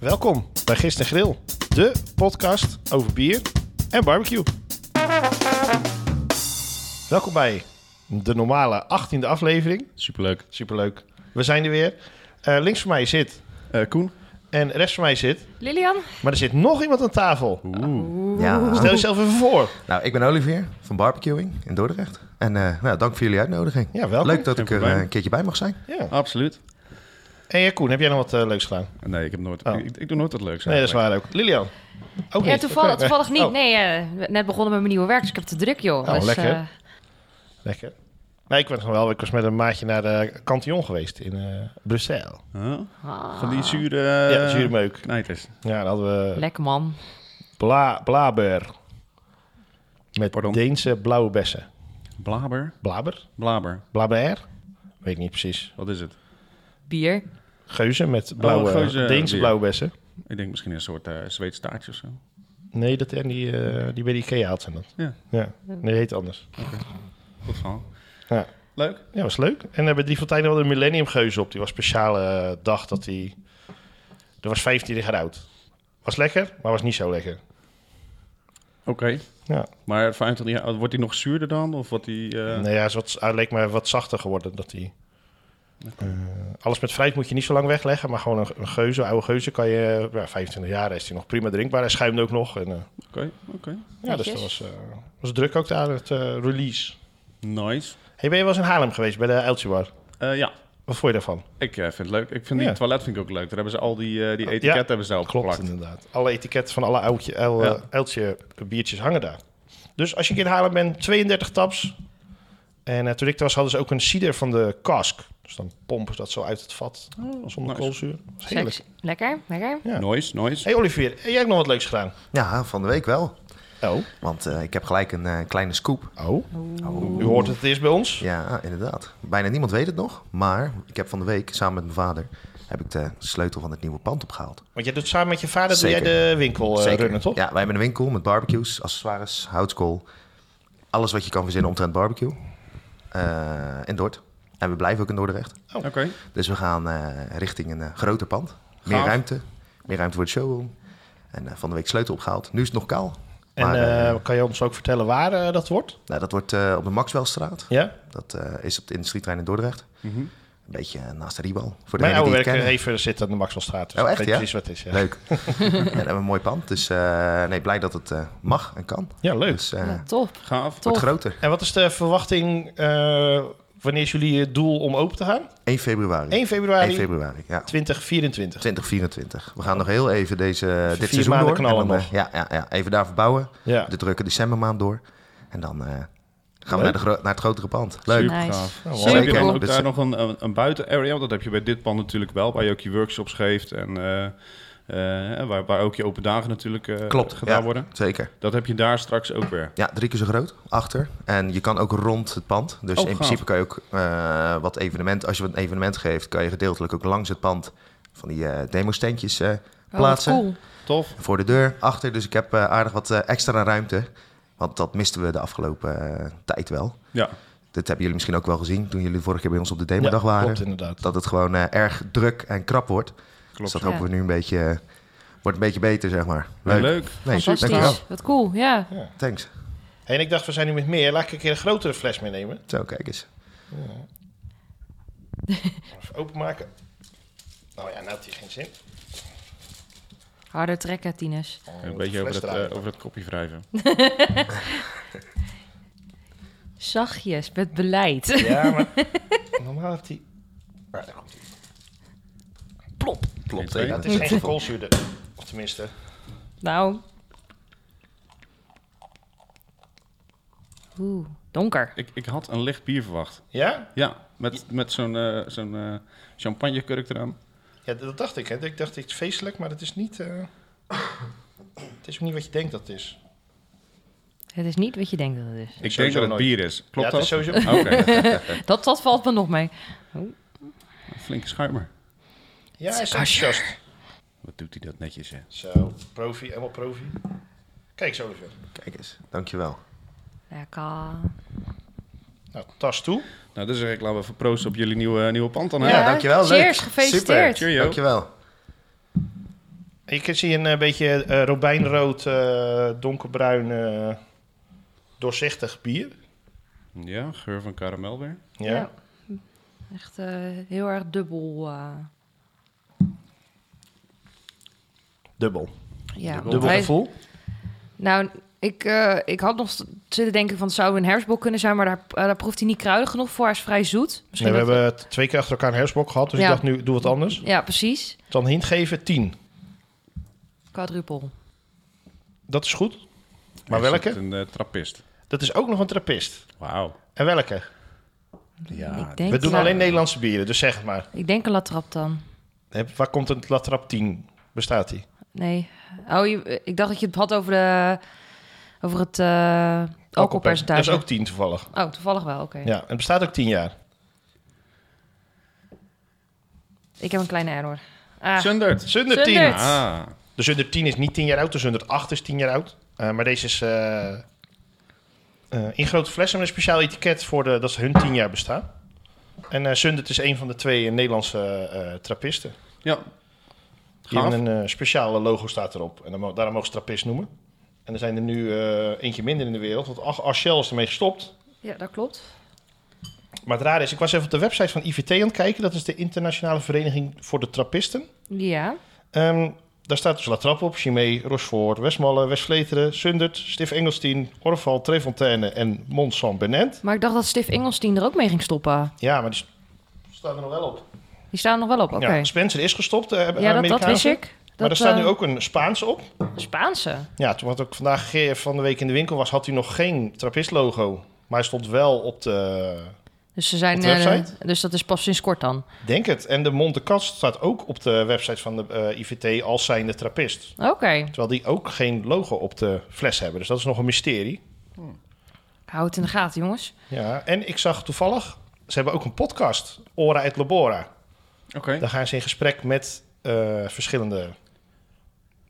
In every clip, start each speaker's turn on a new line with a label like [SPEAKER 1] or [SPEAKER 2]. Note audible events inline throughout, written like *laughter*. [SPEAKER 1] Welkom bij Gist en Grill, de podcast over bier en barbecue. Welkom bij de normale 18e aflevering.
[SPEAKER 2] Superleuk.
[SPEAKER 1] Superleuk. We zijn er weer. Eh, links van mij zit
[SPEAKER 2] Eh Koen?
[SPEAKER 1] en rechts van mij zit,
[SPEAKER 3] Lilian?
[SPEAKER 1] maar er zit nog iemand aan tafel.
[SPEAKER 4] Ja.
[SPEAKER 1] Stel jezelf even voor.
[SPEAKER 4] Nou, ik ben Olivier van Barbecuing in Dordrecht. En eh, nou, dank voor jullie uitnodiging.
[SPEAKER 1] Ja, welkom.
[SPEAKER 4] Leuk dat
[SPEAKER 2] Geen
[SPEAKER 4] ik er
[SPEAKER 2] probleem.
[SPEAKER 4] eh, een keertje bij mag zijn.
[SPEAKER 1] Ja.
[SPEAKER 2] Absoluut.
[SPEAKER 1] En ja, Koen, heb jij nog wat eh, leuks gedaan?
[SPEAKER 2] Nee, ik, heb nooit,
[SPEAKER 1] Oh.
[SPEAKER 2] ik, ik doe nooit wat leuks.
[SPEAKER 1] Nee, dat is
[SPEAKER 2] eigenlijk.
[SPEAKER 1] waar ook. Lilian? Ook
[SPEAKER 3] Ja,
[SPEAKER 1] niet? *laughs*
[SPEAKER 3] toevallig,
[SPEAKER 1] Oké.
[SPEAKER 3] toevallig niet.
[SPEAKER 1] Oh,
[SPEAKER 3] Nee, eh, net begonnen met mijn nieuwe werk, dus ik heb het te druk, joh.
[SPEAKER 1] Oh,
[SPEAKER 3] dus,
[SPEAKER 1] lekker.
[SPEAKER 3] eh,
[SPEAKER 1] Lekker. Nee, ik was nog wel. Ik was met een maatje naar de Cantillon geweest in eh Brussel.
[SPEAKER 2] Huh?
[SPEAKER 3] ah,
[SPEAKER 2] Van die zure...
[SPEAKER 1] ja,
[SPEAKER 2] Eh,
[SPEAKER 1] zure meuk.
[SPEAKER 2] Knijters.
[SPEAKER 1] Ja, dan hadden we
[SPEAKER 3] Lekker, man.
[SPEAKER 1] bla, blaber. Met
[SPEAKER 2] Pardon?
[SPEAKER 1] Deense blauwe bessen.
[SPEAKER 2] Blaber?
[SPEAKER 1] Blaber?
[SPEAKER 2] Blaber.
[SPEAKER 1] Blaber? Weet ik niet precies.
[SPEAKER 2] Wat is het?
[SPEAKER 3] Bier.
[SPEAKER 1] Geuzen met blauwe,
[SPEAKER 2] Oh, geuzen,
[SPEAKER 1] Deense
[SPEAKER 2] bier.
[SPEAKER 1] blauwe bessen.
[SPEAKER 2] Ik denk misschien een soort eh Zweeds taartje of zo.
[SPEAKER 1] Nee, dat en die, eh, die bij de Ikea had zijn dat.
[SPEAKER 2] Ja.
[SPEAKER 1] ja. Nee, die heet anders.
[SPEAKER 2] Goed verhaal.
[SPEAKER 1] Ja.
[SPEAKER 2] Leuk.
[SPEAKER 1] Ja, was leuk. En eh, bij Drie Fonteinen hadden we een Millennium Geuze op. Die was speciale eh, dag dat die... Er was 25 jaar oud. Was lekker, maar was niet zo lekker.
[SPEAKER 2] Oké.
[SPEAKER 1] Ja.
[SPEAKER 2] Maar 25 jaar, oud, wordt die nog zuurder dan? Of wordt die... eh,
[SPEAKER 1] Nou ja, is wat, hij leek me wat zachter geworden. Dat die, Eh, alles met fruit moet je niet zo lang wegleggen. Maar gewoon een, een geuze, oude geuze, kan je... Ja, 25 jaar is die nog prima drinkbaar. Hij schuimt ook nog. En, eh,
[SPEAKER 2] Oké, oké.
[SPEAKER 1] ja, dus dat
[SPEAKER 3] Netjes.
[SPEAKER 1] was, eh, was druk ook daar, het eh, release.
[SPEAKER 2] Nice.
[SPEAKER 1] Hey, ben je wel eens in Haarlem geweest bij de Eltje Bar?
[SPEAKER 2] Eh, ja,
[SPEAKER 1] Wat vond je daarvan?
[SPEAKER 2] ik eh, vind het leuk. Ik vind die
[SPEAKER 1] Ja.
[SPEAKER 2] toilet vind ik ook leuk. Daar hebben ze al die, eh, die
[SPEAKER 1] Ja,
[SPEAKER 2] etiketten hebben ze daar opgeplakt.
[SPEAKER 1] inderdaad. Alle etiketten van alle oudje, el,
[SPEAKER 2] Ja.
[SPEAKER 1] Eltje biertjes hangen daar. Dus als je een keer in Haarlem bent, 32 taps. En eh, toen ik daar was, hadden ze ook een cider van de kask. Dus dan pompen ze dat zo uit het vat.
[SPEAKER 4] Oh,
[SPEAKER 1] Zonder
[SPEAKER 2] nice.
[SPEAKER 1] koolzuur. Dat is heerlijk.
[SPEAKER 3] Seks. Lekker, lekker.
[SPEAKER 1] Ja.
[SPEAKER 2] Nice, nice.
[SPEAKER 1] Hey Olivier, heb jij ook nog wat leuks gedaan?
[SPEAKER 4] Ja, van de week wel.
[SPEAKER 1] Oh.
[SPEAKER 4] Want eh, ik heb gelijk een eh, kleine scoop.
[SPEAKER 1] Oh. U hoort het eerst bij ons.
[SPEAKER 4] Ja, ah, inderdaad. Bijna niemand weet het nog. Maar ik heb van de week samen met mijn vader heb ik de sleutel van het nieuwe pand opgehaald.
[SPEAKER 1] Want jij doet samen met je vader
[SPEAKER 4] Zeker.
[SPEAKER 1] doe jij de winkel eh, runnen, toch?
[SPEAKER 4] Ja, wij hebben een winkel met barbecues, accessoires, houtskool. Alles wat je kan verzinnen omtrent barbecue. Eh, in Dort. En we blijven ook in Dordrecht.
[SPEAKER 2] Oké.
[SPEAKER 4] Dus we gaan eh, richting een eh, groter pand. Meer
[SPEAKER 2] Gaaf.
[SPEAKER 4] ruimte. Meer ruimte voor de showroom. En eh, van de week sleutel opgehaald. Nu is het nog kaal.
[SPEAKER 1] En
[SPEAKER 4] Maar, eh,
[SPEAKER 1] eh, kan je ons ook vertellen waar eh, dat wordt?
[SPEAKER 4] nou, dat wordt eh, op de Maxwellstraat.
[SPEAKER 1] Ja?
[SPEAKER 4] Dat eh, is op de industrietrein in Dordrecht. Een beetje eh, naast de Riebal. Voor
[SPEAKER 1] Mhm. Mijn
[SPEAKER 4] degenen
[SPEAKER 1] oude eh,
[SPEAKER 4] die het kennen.
[SPEAKER 1] werkgever zit aan de Maxwellstraat. Dus
[SPEAKER 4] Oh,
[SPEAKER 1] ik
[SPEAKER 4] echt,
[SPEAKER 1] weet
[SPEAKER 4] ja?
[SPEAKER 1] precies wat het is. Ja.
[SPEAKER 4] Leuk. *laughs* ja, dan hebben we een mooi pand. Dus eh, nee, blij dat het eh, mag en kan.
[SPEAKER 1] Ja, leuk.
[SPEAKER 4] Dus eh,
[SPEAKER 3] Ja, top.
[SPEAKER 2] Gaaf.
[SPEAKER 4] wordt
[SPEAKER 3] Tof.
[SPEAKER 4] groter.
[SPEAKER 1] En wat is de verwachting eh, wanneer is jullie het doel om open te gaan?
[SPEAKER 4] 1 februari.
[SPEAKER 1] 1 februari
[SPEAKER 4] 1 februari, ja.
[SPEAKER 1] 2024.
[SPEAKER 4] 2024. We gaan nog heel even deze, dit
[SPEAKER 1] vier
[SPEAKER 4] seizoen
[SPEAKER 1] maanden
[SPEAKER 4] door.
[SPEAKER 1] knallen
[SPEAKER 4] en dan, eh,
[SPEAKER 1] nog.
[SPEAKER 4] Ja, ja, ja, even daarvoor bouwen.
[SPEAKER 1] Ja.
[SPEAKER 4] De drukke decembermaand door. En dan eh, gaan we
[SPEAKER 1] Leuk.
[SPEAKER 4] naar, de gro- naar het grotere pand. Leuk.
[SPEAKER 2] Super
[SPEAKER 3] Nice.
[SPEAKER 2] gaaf.
[SPEAKER 1] Oh,
[SPEAKER 2] Heb je
[SPEAKER 3] Zeker.
[SPEAKER 2] dan ook
[SPEAKER 4] Dit
[SPEAKER 2] daar
[SPEAKER 4] is-
[SPEAKER 2] nog een, een, een buiten-area? Want dat heb je bij dit pand natuurlijk wel, waar je ook je workshops geeft en eh, eh, waar, waar ook je open dagen natuurlijk eh, gedaan
[SPEAKER 4] ja,
[SPEAKER 2] worden.
[SPEAKER 4] Zeker.
[SPEAKER 2] Dat heb je daar straks ook weer.
[SPEAKER 4] Ja, drie keer zo groot, achter. En je kan ook rond het pand. Dus
[SPEAKER 2] Oh,
[SPEAKER 4] in
[SPEAKER 2] gaaf.
[SPEAKER 4] principe kan je ook eh, wat evenement... Als je wat evenement geeft, kan je gedeeltelijk ook langs het pand... van die eh demo-standjes eh,
[SPEAKER 3] Oh, wat
[SPEAKER 4] plaatsen.
[SPEAKER 3] cool.
[SPEAKER 2] Tof.
[SPEAKER 4] Voor de deur, achter. Dus ik heb eh, aardig wat eh, extra ruimte. Want dat misten we de afgelopen eh, tijd wel.
[SPEAKER 2] Ja,
[SPEAKER 4] Dit hebben jullie misschien ook wel gezien toen jullie vorige keer bij ons op de demodag waren.
[SPEAKER 1] Klopt inderdaad.
[SPEAKER 4] dat het gewoon eh, erg druk en krap wordt. dus
[SPEAKER 2] klopt.
[SPEAKER 4] dat
[SPEAKER 3] ja.
[SPEAKER 4] hopen we nu een beetje, eh, wordt een beetje beter, zeg maar.
[SPEAKER 2] Leuk.
[SPEAKER 4] Leuk.
[SPEAKER 2] Leuk.
[SPEAKER 4] Nee, dankjewel.
[SPEAKER 3] Fantastisch. Wat cool, ja.
[SPEAKER 4] Thanks.
[SPEAKER 1] Hey, en ik dacht, we zijn nu met meer. Laat ik een keer een grotere fles meenemen.
[SPEAKER 4] Zo, kijk eens.
[SPEAKER 1] Even openmaken. Nou ja, nou het is geen zin.
[SPEAKER 3] Harder trekken, Tines.
[SPEAKER 1] Oh,
[SPEAKER 2] Een
[SPEAKER 1] de
[SPEAKER 2] beetje over
[SPEAKER 1] fles
[SPEAKER 2] het, eh,
[SPEAKER 1] draaien.
[SPEAKER 2] over het kopje wrijven.
[SPEAKER 3] Zachtjes, met beleid. *laughs*
[SPEAKER 1] Ja, maar *laughs* normaal heeft hij... Ah, daar komt hij.
[SPEAKER 3] Plop.
[SPEAKER 4] Klopt.
[SPEAKER 2] Geen idee.
[SPEAKER 4] eh,
[SPEAKER 1] Dat
[SPEAKER 4] dat
[SPEAKER 1] is
[SPEAKER 4] is
[SPEAKER 1] geen koolzuur. Of tenminste...
[SPEAKER 3] Nou. Oeh, donker.
[SPEAKER 2] Ik, ik had een licht bier verwacht.
[SPEAKER 1] Ja?
[SPEAKER 2] Ja, met, met zo'n eh, zo'n eh, champagnekurk eraan.
[SPEAKER 1] Ja, dat dacht ik. Hè. Ik dacht, het is feestelijk, maar het is niet... eh, *coughs* het is ook niet wat je denkt dat het is.
[SPEAKER 3] Het is niet wat je denkt dat het is.
[SPEAKER 2] Ik denk
[SPEAKER 1] sowieso
[SPEAKER 2] dat het
[SPEAKER 1] nooit.
[SPEAKER 2] bier is. Klopt
[SPEAKER 1] ja,
[SPEAKER 2] dat?
[SPEAKER 1] het is sowieso...
[SPEAKER 2] Oké,
[SPEAKER 1] *laughs*
[SPEAKER 3] Dat, dat valt me nog mee.
[SPEAKER 2] flinke schuimer.
[SPEAKER 1] Ja, hij is enthousiast.
[SPEAKER 2] Wat doet hij dat netjes, hè?
[SPEAKER 1] Zo, profi, helemaal profi. Kijk zo even.
[SPEAKER 4] Kijk eens. Dankjewel.
[SPEAKER 3] Lekker.
[SPEAKER 1] Nou, tas toe.
[SPEAKER 2] Nou, dus zeg ik, laten we even proosten op jullie nieuwe, nieuwe pand dan, hè?
[SPEAKER 4] Ja, dankjewel.
[SPEAKER 3] Cheers,
[SPEAKER 4] Leuk.
[SPEAKER 3] gefeliciteerd.
[SPEAKER 2] Cheerio.
[SPEAKER 4] Dankjewel.
[SPEAKER 1] Ik zie een eh, beetje eh, robijnrood, eh, donkerbruin, eh, doorzichtig bier.
[SPEAKER 2] Ja, geur van karamel weer.
[SPEAKER 1] Ja.
[SPEAKER 3] Echt eh, heel erg dubbel. eh,
[SPEAKER 1] Dubbel.
[SPEAKER 3] ja.
[SPEAKER 2] Dubbel.
[SPEAKER 3] want hij-
[SPEAKER 1] gevoel?
[SPEAKER 3] Nou, ik, eh, ik had nog st- zitten denken van het zou een hersbok kunnen zijn, maar daar, eh, daar proeft hij niet kruidig genoeg voor. Hij is vrij zoet.
[SPEAKER 1] Nee, we
[SPEAKER 3] dat-
[SPEAKER 1] hebben t- twee keer achter elkaar een hersbok gehad, dus
[SPEAKER 3] Ja.
[SPEAKER 1] ik dacht nu doe wat anders.
[SPEAKER 3] Ja, precies.
[SPEAKER 1] Dan hint geven 10.
[SPEAKER 3] Quadrupel.
[SPEAKER 1] Dat is goed. Maar
[SPEAKER 2] Hij
[SPEAKER 1] welke?
[SPEAKER 2] zit Een eh, trappist.
[SPEAKER 1] Dat is ook nog een trappist.
[SPEAKER 2] Wauw.
[SPEAKER 1] En welke?
[SPEAKER 2] Ja,
[SPEAKER 3] ik denk
[SPEAKER 1] We doen
[SPEAKER 3] La-
[SPEAKER 1] alleen Nederlandse bieren, dus zeg het maar.
[SPEAKER 3] Ik denk een latrap dan.
[SPEAKER 1] Heb- Waar komt een Latrap 10? Bestaat die?
[SPEAKER 3] Nee. Oh, je- ik dacht dat je het had over, de, over het eh alcoholpercentage.
[SPEAKER 1] Dat is ook 10 toevallig.
[SPEAKER 3] Oh, toevallig wel. Oké.
[SPEAKER 1] Ja, en het bestaat ook 10 jaar.
[SPEAKER 3] Ik heb een kleine error. Ah,
[SPEAKER 2] Sundert.
[SPEAKER 1] Zunder 10.
[SPEAKER 3] Zundert.
[SPEAKER 2] Ah,
[SPEAKER 1] De Zunder 10 is niet 10 jaar oud, de Zunder 8 is 10 jaar oud. Eh, maar deze is eh, eh, in grote flessen met een speciaal etiket voor de, dat ze hun 10 jaar bestaan. En eh Zundert is een van de twee eh, Nederlandse eh, trappisten.
[SPEAKER 2] ja.
[SPEAKER 1] Die
[SPEAKER 2] Gaaf.
[SPEAKER 1] hebben een eh, speciale logo staat erop. En dan, mo- daarom mogen ze trappist noemen. En er zijn er nu eh, eentje minder in de wereld, want Ach- Archel is ermee gestopt.
[SPEAKER 3] ja, dat klopt.
[SPEAKER 1] Maar het rare is, ik was even op de website van IVT aan het kijken. Dat is de Internationale Vereniging voor de Trappisten.
[SPEAKER 3] Ja.
[SPEAKER 1] Ehm, daar staat dus La Trappe op, Chimay, Rochefort, Westmalle, Westvleteren, Sundert, Stif Engelstien, Orval, Trefontaine en Mont saint Benent.
[SPEAKER 3] Maar ik dacht dat Stif Engelstein er ook mee ging stoppen.
[SPEAKER 1] Ja, maar die staat er nog wel op.
[SPEAKER 3] Die staan nog wel op. Oké.
[SPEAKER 1] Ja, Spencer is gestopt, eh,
[SPEAKER 3] Ja, dat, dat
[SPEAKER 1] Amerikaanse.
[SPEAKER 3] wist ik.
[SPEAKER 1] maar
[SPEAKER 3] dat
[SPEAKER 1] er staat nu
[SPEAKER 3] eh,
[SPEAKER 1] ook een Spaanse op.
[SPEAKER 3] Spaanse.
[SPEAKER 1] Ja, toen wat ook vandaag eh, van de week in de winkel was, had hij nog geen trappist-logo. Maar hij stond wel op de...
[SPEAKER 3] Dus ze zijn.
[SPEAKER 1] Op de
[SPEAKER 3] eh,
[SPEAKER 1] website?
[SPEAKER 3] dus dat is pas sinds kort dan.
[SPEAKER 1] Denk het. En de Mont de Kast staat ook op de website van de eh, IVT als zijnde trappist.
[SPEAKER 3] Oké.
[SPEAKER 1] Terwijl die ook geen logo op de fles hebben. Dus dat is nog een mysterie.
[SPEAKER 3] Ik hou het in de gaten, jongens.
[SPEAKER 1] Ja, en ik zag toevallig... Ze hebben ook een podcast, Ora et Labora.
[SPEAKER 2] Oké.
[SPEAKER 1] Daar gaan ze in gesprek met eh, verschillende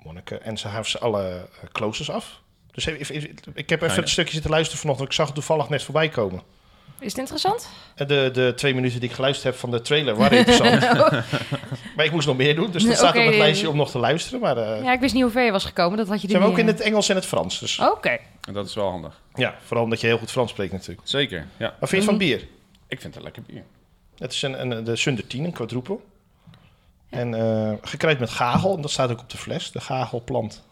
[SPEAKER 1] monniken. En ze haven ze alle eh, kloosters af. Dus even- even- even- ik heb even
[SPEAKER 2] Fijn.
[SPEAKER 1] een stukje zitten luisteren vanochtend. Ik zag het toevallig net voorbij komen.
[SPEAKER 3] Is het interessant?
[SPEAKER 1] En De, de twee minuten die ik geluisterd heb van de trailer
[SPEAKER 3] *laughs*
[SPEAKER 1] waren interessant. maar ik moest nog meer doen. Dus dat
[SPEAKER 3] Oké,
[SPEAKER 1] staat op het
[SPEAKER 3] nee,
[SPEAKER 1] lijstje
[SPEAKER 3] nee.
[SPEAKER 1] om nog te luisteren. Maar eh,
[SPEAKER 3] Ja, eh. ik wist niet hoe ver je was gekomen. Dat had je
[SPEAKER 1] ze hebben ook in
[SPEAKER 3] niet,
[SPEAKER 1] het Engels en het Frans. Dus
[SPEAKER 3] eh, Oké.
[SPEAKER 2] En dat is wel handig.
[SPEAKER 1] ja, vooral omdat je heel goed Frans spreekt natuurlijk.
[SPEAKER 2] Zeker. Ja.
[SPEAKER 1] Wat vind je van
[SPEAKER 3] Mhm.
[SPEAKER 1] bier?
[SPEAKER 2] Ik vind het lekker bier.
[SPEAKER 1] Het is een, een, de Sunder 10, een quadruple. En eh gekruid met gagel, en dat staat ook op de fles, de gagelplant.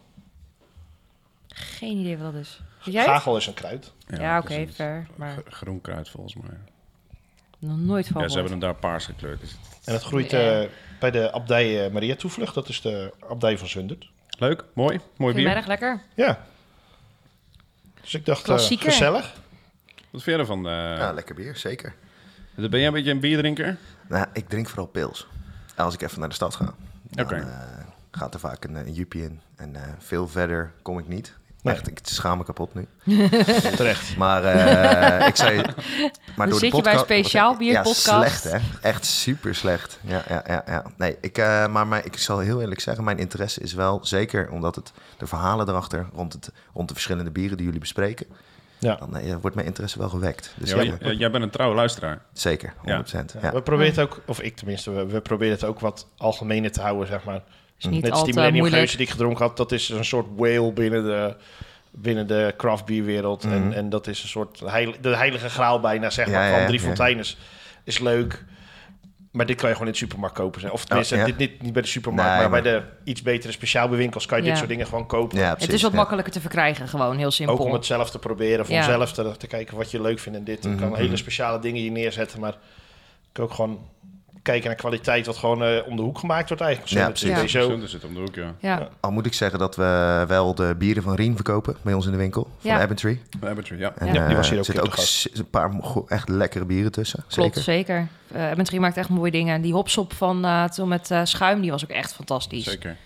[SPEAKER 3] Geen idee wat dat is. Weet jij? het?
[SPEAKER 1] Gagel is een kruid.
[SPEAKER 3] Ja,
[SPEAKER 2] dat
[SPEAKER 3] oké,
[SPEAKER 2] is een
[SPEAKER 3] ver. Maar
[SPEAKER 2] gr- Groen kruid volgens mij.
[SPEAKER 3] nog nooit van.
[SPEAKER 2] Ja, ze
[SPEAKER 3] gehoord.
[SPEAKER 2] hebben hem daar paars gekleurd. Is het-
[SPEAKER 1] En dat groeit
[SPEAKER 3] Ja.
[SPEAKER 1] eh, bij de abdij eh, Maria Toevlucht, dat is de abdij van Zundert.
[SPEAKER 2] Leuk, mooi. Mooi
[SPEAKER 3] Vind je mij
[SPEAKER 2] bier.
[SPEAKER 3] erg lekker.
[SPEAKER 1] Ja. Dus ik dacht, eh,
[SPEAKER 3] Klassieker.
[SPEAKER 1] gezellig.
[SPEAKER 2] Wat vind je ervan? eh?
[SPEAKER 4] Ja, Ah, lekker bier, zeker.
[SPEAKER 2] Ben jij een beetje een bierdrinker?
[SPEAKER 4] Nou, ik drink vooral pils. En als ik even naar de stad ga, dan
[SPEAKER 2] Oké.
[SPEAKER 4] eh, gaat er vaak een, eh, een jupie in. En eh, veel verder kom ik niet.
[SPEAKER 1] Nee.
[SPEAKER 4] Echt, ik schaam me kapot nu.
[SPEAKER 1] Terecht.
[SPEAKER 4] Maar eh, ik
[SPEAKER 3] *laughs*
[SPEAKER 4] zei... Maar
[SPEAKER 3] Dan
[SPEAKER 4] door
[SPEAKER 3] zit
[SPEAKER 4] de
[SPEAKER 3] je bij een
[SPEAKER 4] podca-
[SPEAKER 3] speciaal bier
[SPEAKER 4] ja,
[SPEAKER 3] podcast.
[SPEAKER 4] slecht hè. Echt super slecht. Ja, ja, ja. ja. Nee, ik, eh, maar mijn, ik zal heel eerlijk zeggen, mijn interesse is wel zeker omdat het, de verhalen erachter rond, het, rond de verschillende bieren die jullie bespreken,
[SPEAKER 1] Ja.
[SPEAKER 4] dan eh, wordt mijn interesse wel gewekt. Dus
[SPEAKER 2] Ja,
[SPEAKER 4] ja,
[SPEAKER 2] j- jij bent een trouwe luisteraar.
[SPEAKER 4] zeker, 100%. Ja.
[SPEAKER 1] We proberen het ook, of ik tenminste, we, we proberen het ook wat algemener te houden, zeg maar.
[SPEAKER 3] Is niet
[SPEAKER 1] Hm. Net als die
[SPEAKER 3] altijd al te
[SPEAKER 1] Millennium Geuze
[SPEAKER 3] moeilijk.
[SPEAKER 1] die ik gedronken had, dat is een soort whale binnen de, binnen de craft beer wereld. En, en dat is een soort heil, de heilige graal bijna, zeg
[SPEAKER 4] Mhm. Ja,
[SPEAKER 1] maar.
[SPEAKER 4] ja,
[SPEAKER 1] van
[SPEAKER 4] ja,
[SPEAKER 1] drie
[SPEAKER 4] ja.
[SPEAKER 1] fonteines is leuk. Maar dit kan je gewoon in de supermarkt kopen. zeg. Of tenminste,
[SPEAKER 4] Oh, ja.
[SPEAKER 1] dit, niet, niet bij de supermarkt,
[SPEAKER 4] Nee,
[SPEAKER 1] maar, bij de iets betere speciaalbewinkels kan je
[SPEAKER 3] Ja.
[SPEAKER 1] dit soort dingen gewoon kopen.
[SPEAKER 4] Ja,
[SPEAKER 3] het
[SPEAKER 4] precies,
[SPEAKER 3] is wat
[SPEAKER 4] ja.
[SPEAKER 3] makkelijker te verkrijgen, gewoon heel simpel.
[SPEAKER 1] Ook om het zelf te proberen, voor
[SPEAKER 3] Ja.
[SPEAKER 1] zelf te, te kijken wat je leuk vindt en dit. Ik
[SPEAKER 4] Mhm,
[SPEAKER 1] kan hele speciale dingen hier neerzetten, maar ik kan ook gewoon kijken naar kwaliteit wat gewoon eh, om de hoek gemaakt wordt eigenlijk.
[SPEAKER 4] Ja,
[SPEAKER 1] Zo, dat
[SPEAKER 4] precies.
[SPEAKER 1] is sowieso-
[SPEAKER 2] Zonder zit om de hoek, ja.
[SPEAKER 3] Ja.
[SPEAKER 1] Ja.
[SPEAKER 4] Al moet ik zeggen dat we wel de bieren van Rien verkopen bij ons in de winkel. Van
[SPEAKER 3] Ja.
[SPEAKER 4] Abbotry.
[SPEAKER 2] Aperture, ja.
[SPEAKER 4] En,
[SPEAKER 1] Ja, die
[SPEAKER 4] eh,
[SPEAKER 1] was hier ook
[SPEAKER 4] Er
[SPEAKER 1] in
[SPEAKER 4] zitten ook
[SPEAKER 1] te gast.
[SPEAKER 4] s- een paar go- echt lekkere bieren tussen.
[SPEAKER 3] Klopt,
[SPEAKER 4] Zeker.
[SPEAKER 3] zeker. Uh, maakt echt mooie dingen. En die hopsop van eh, toen met eh, schuim, die was ook echt fantastisch.
[SPEAKER 2] Zeker.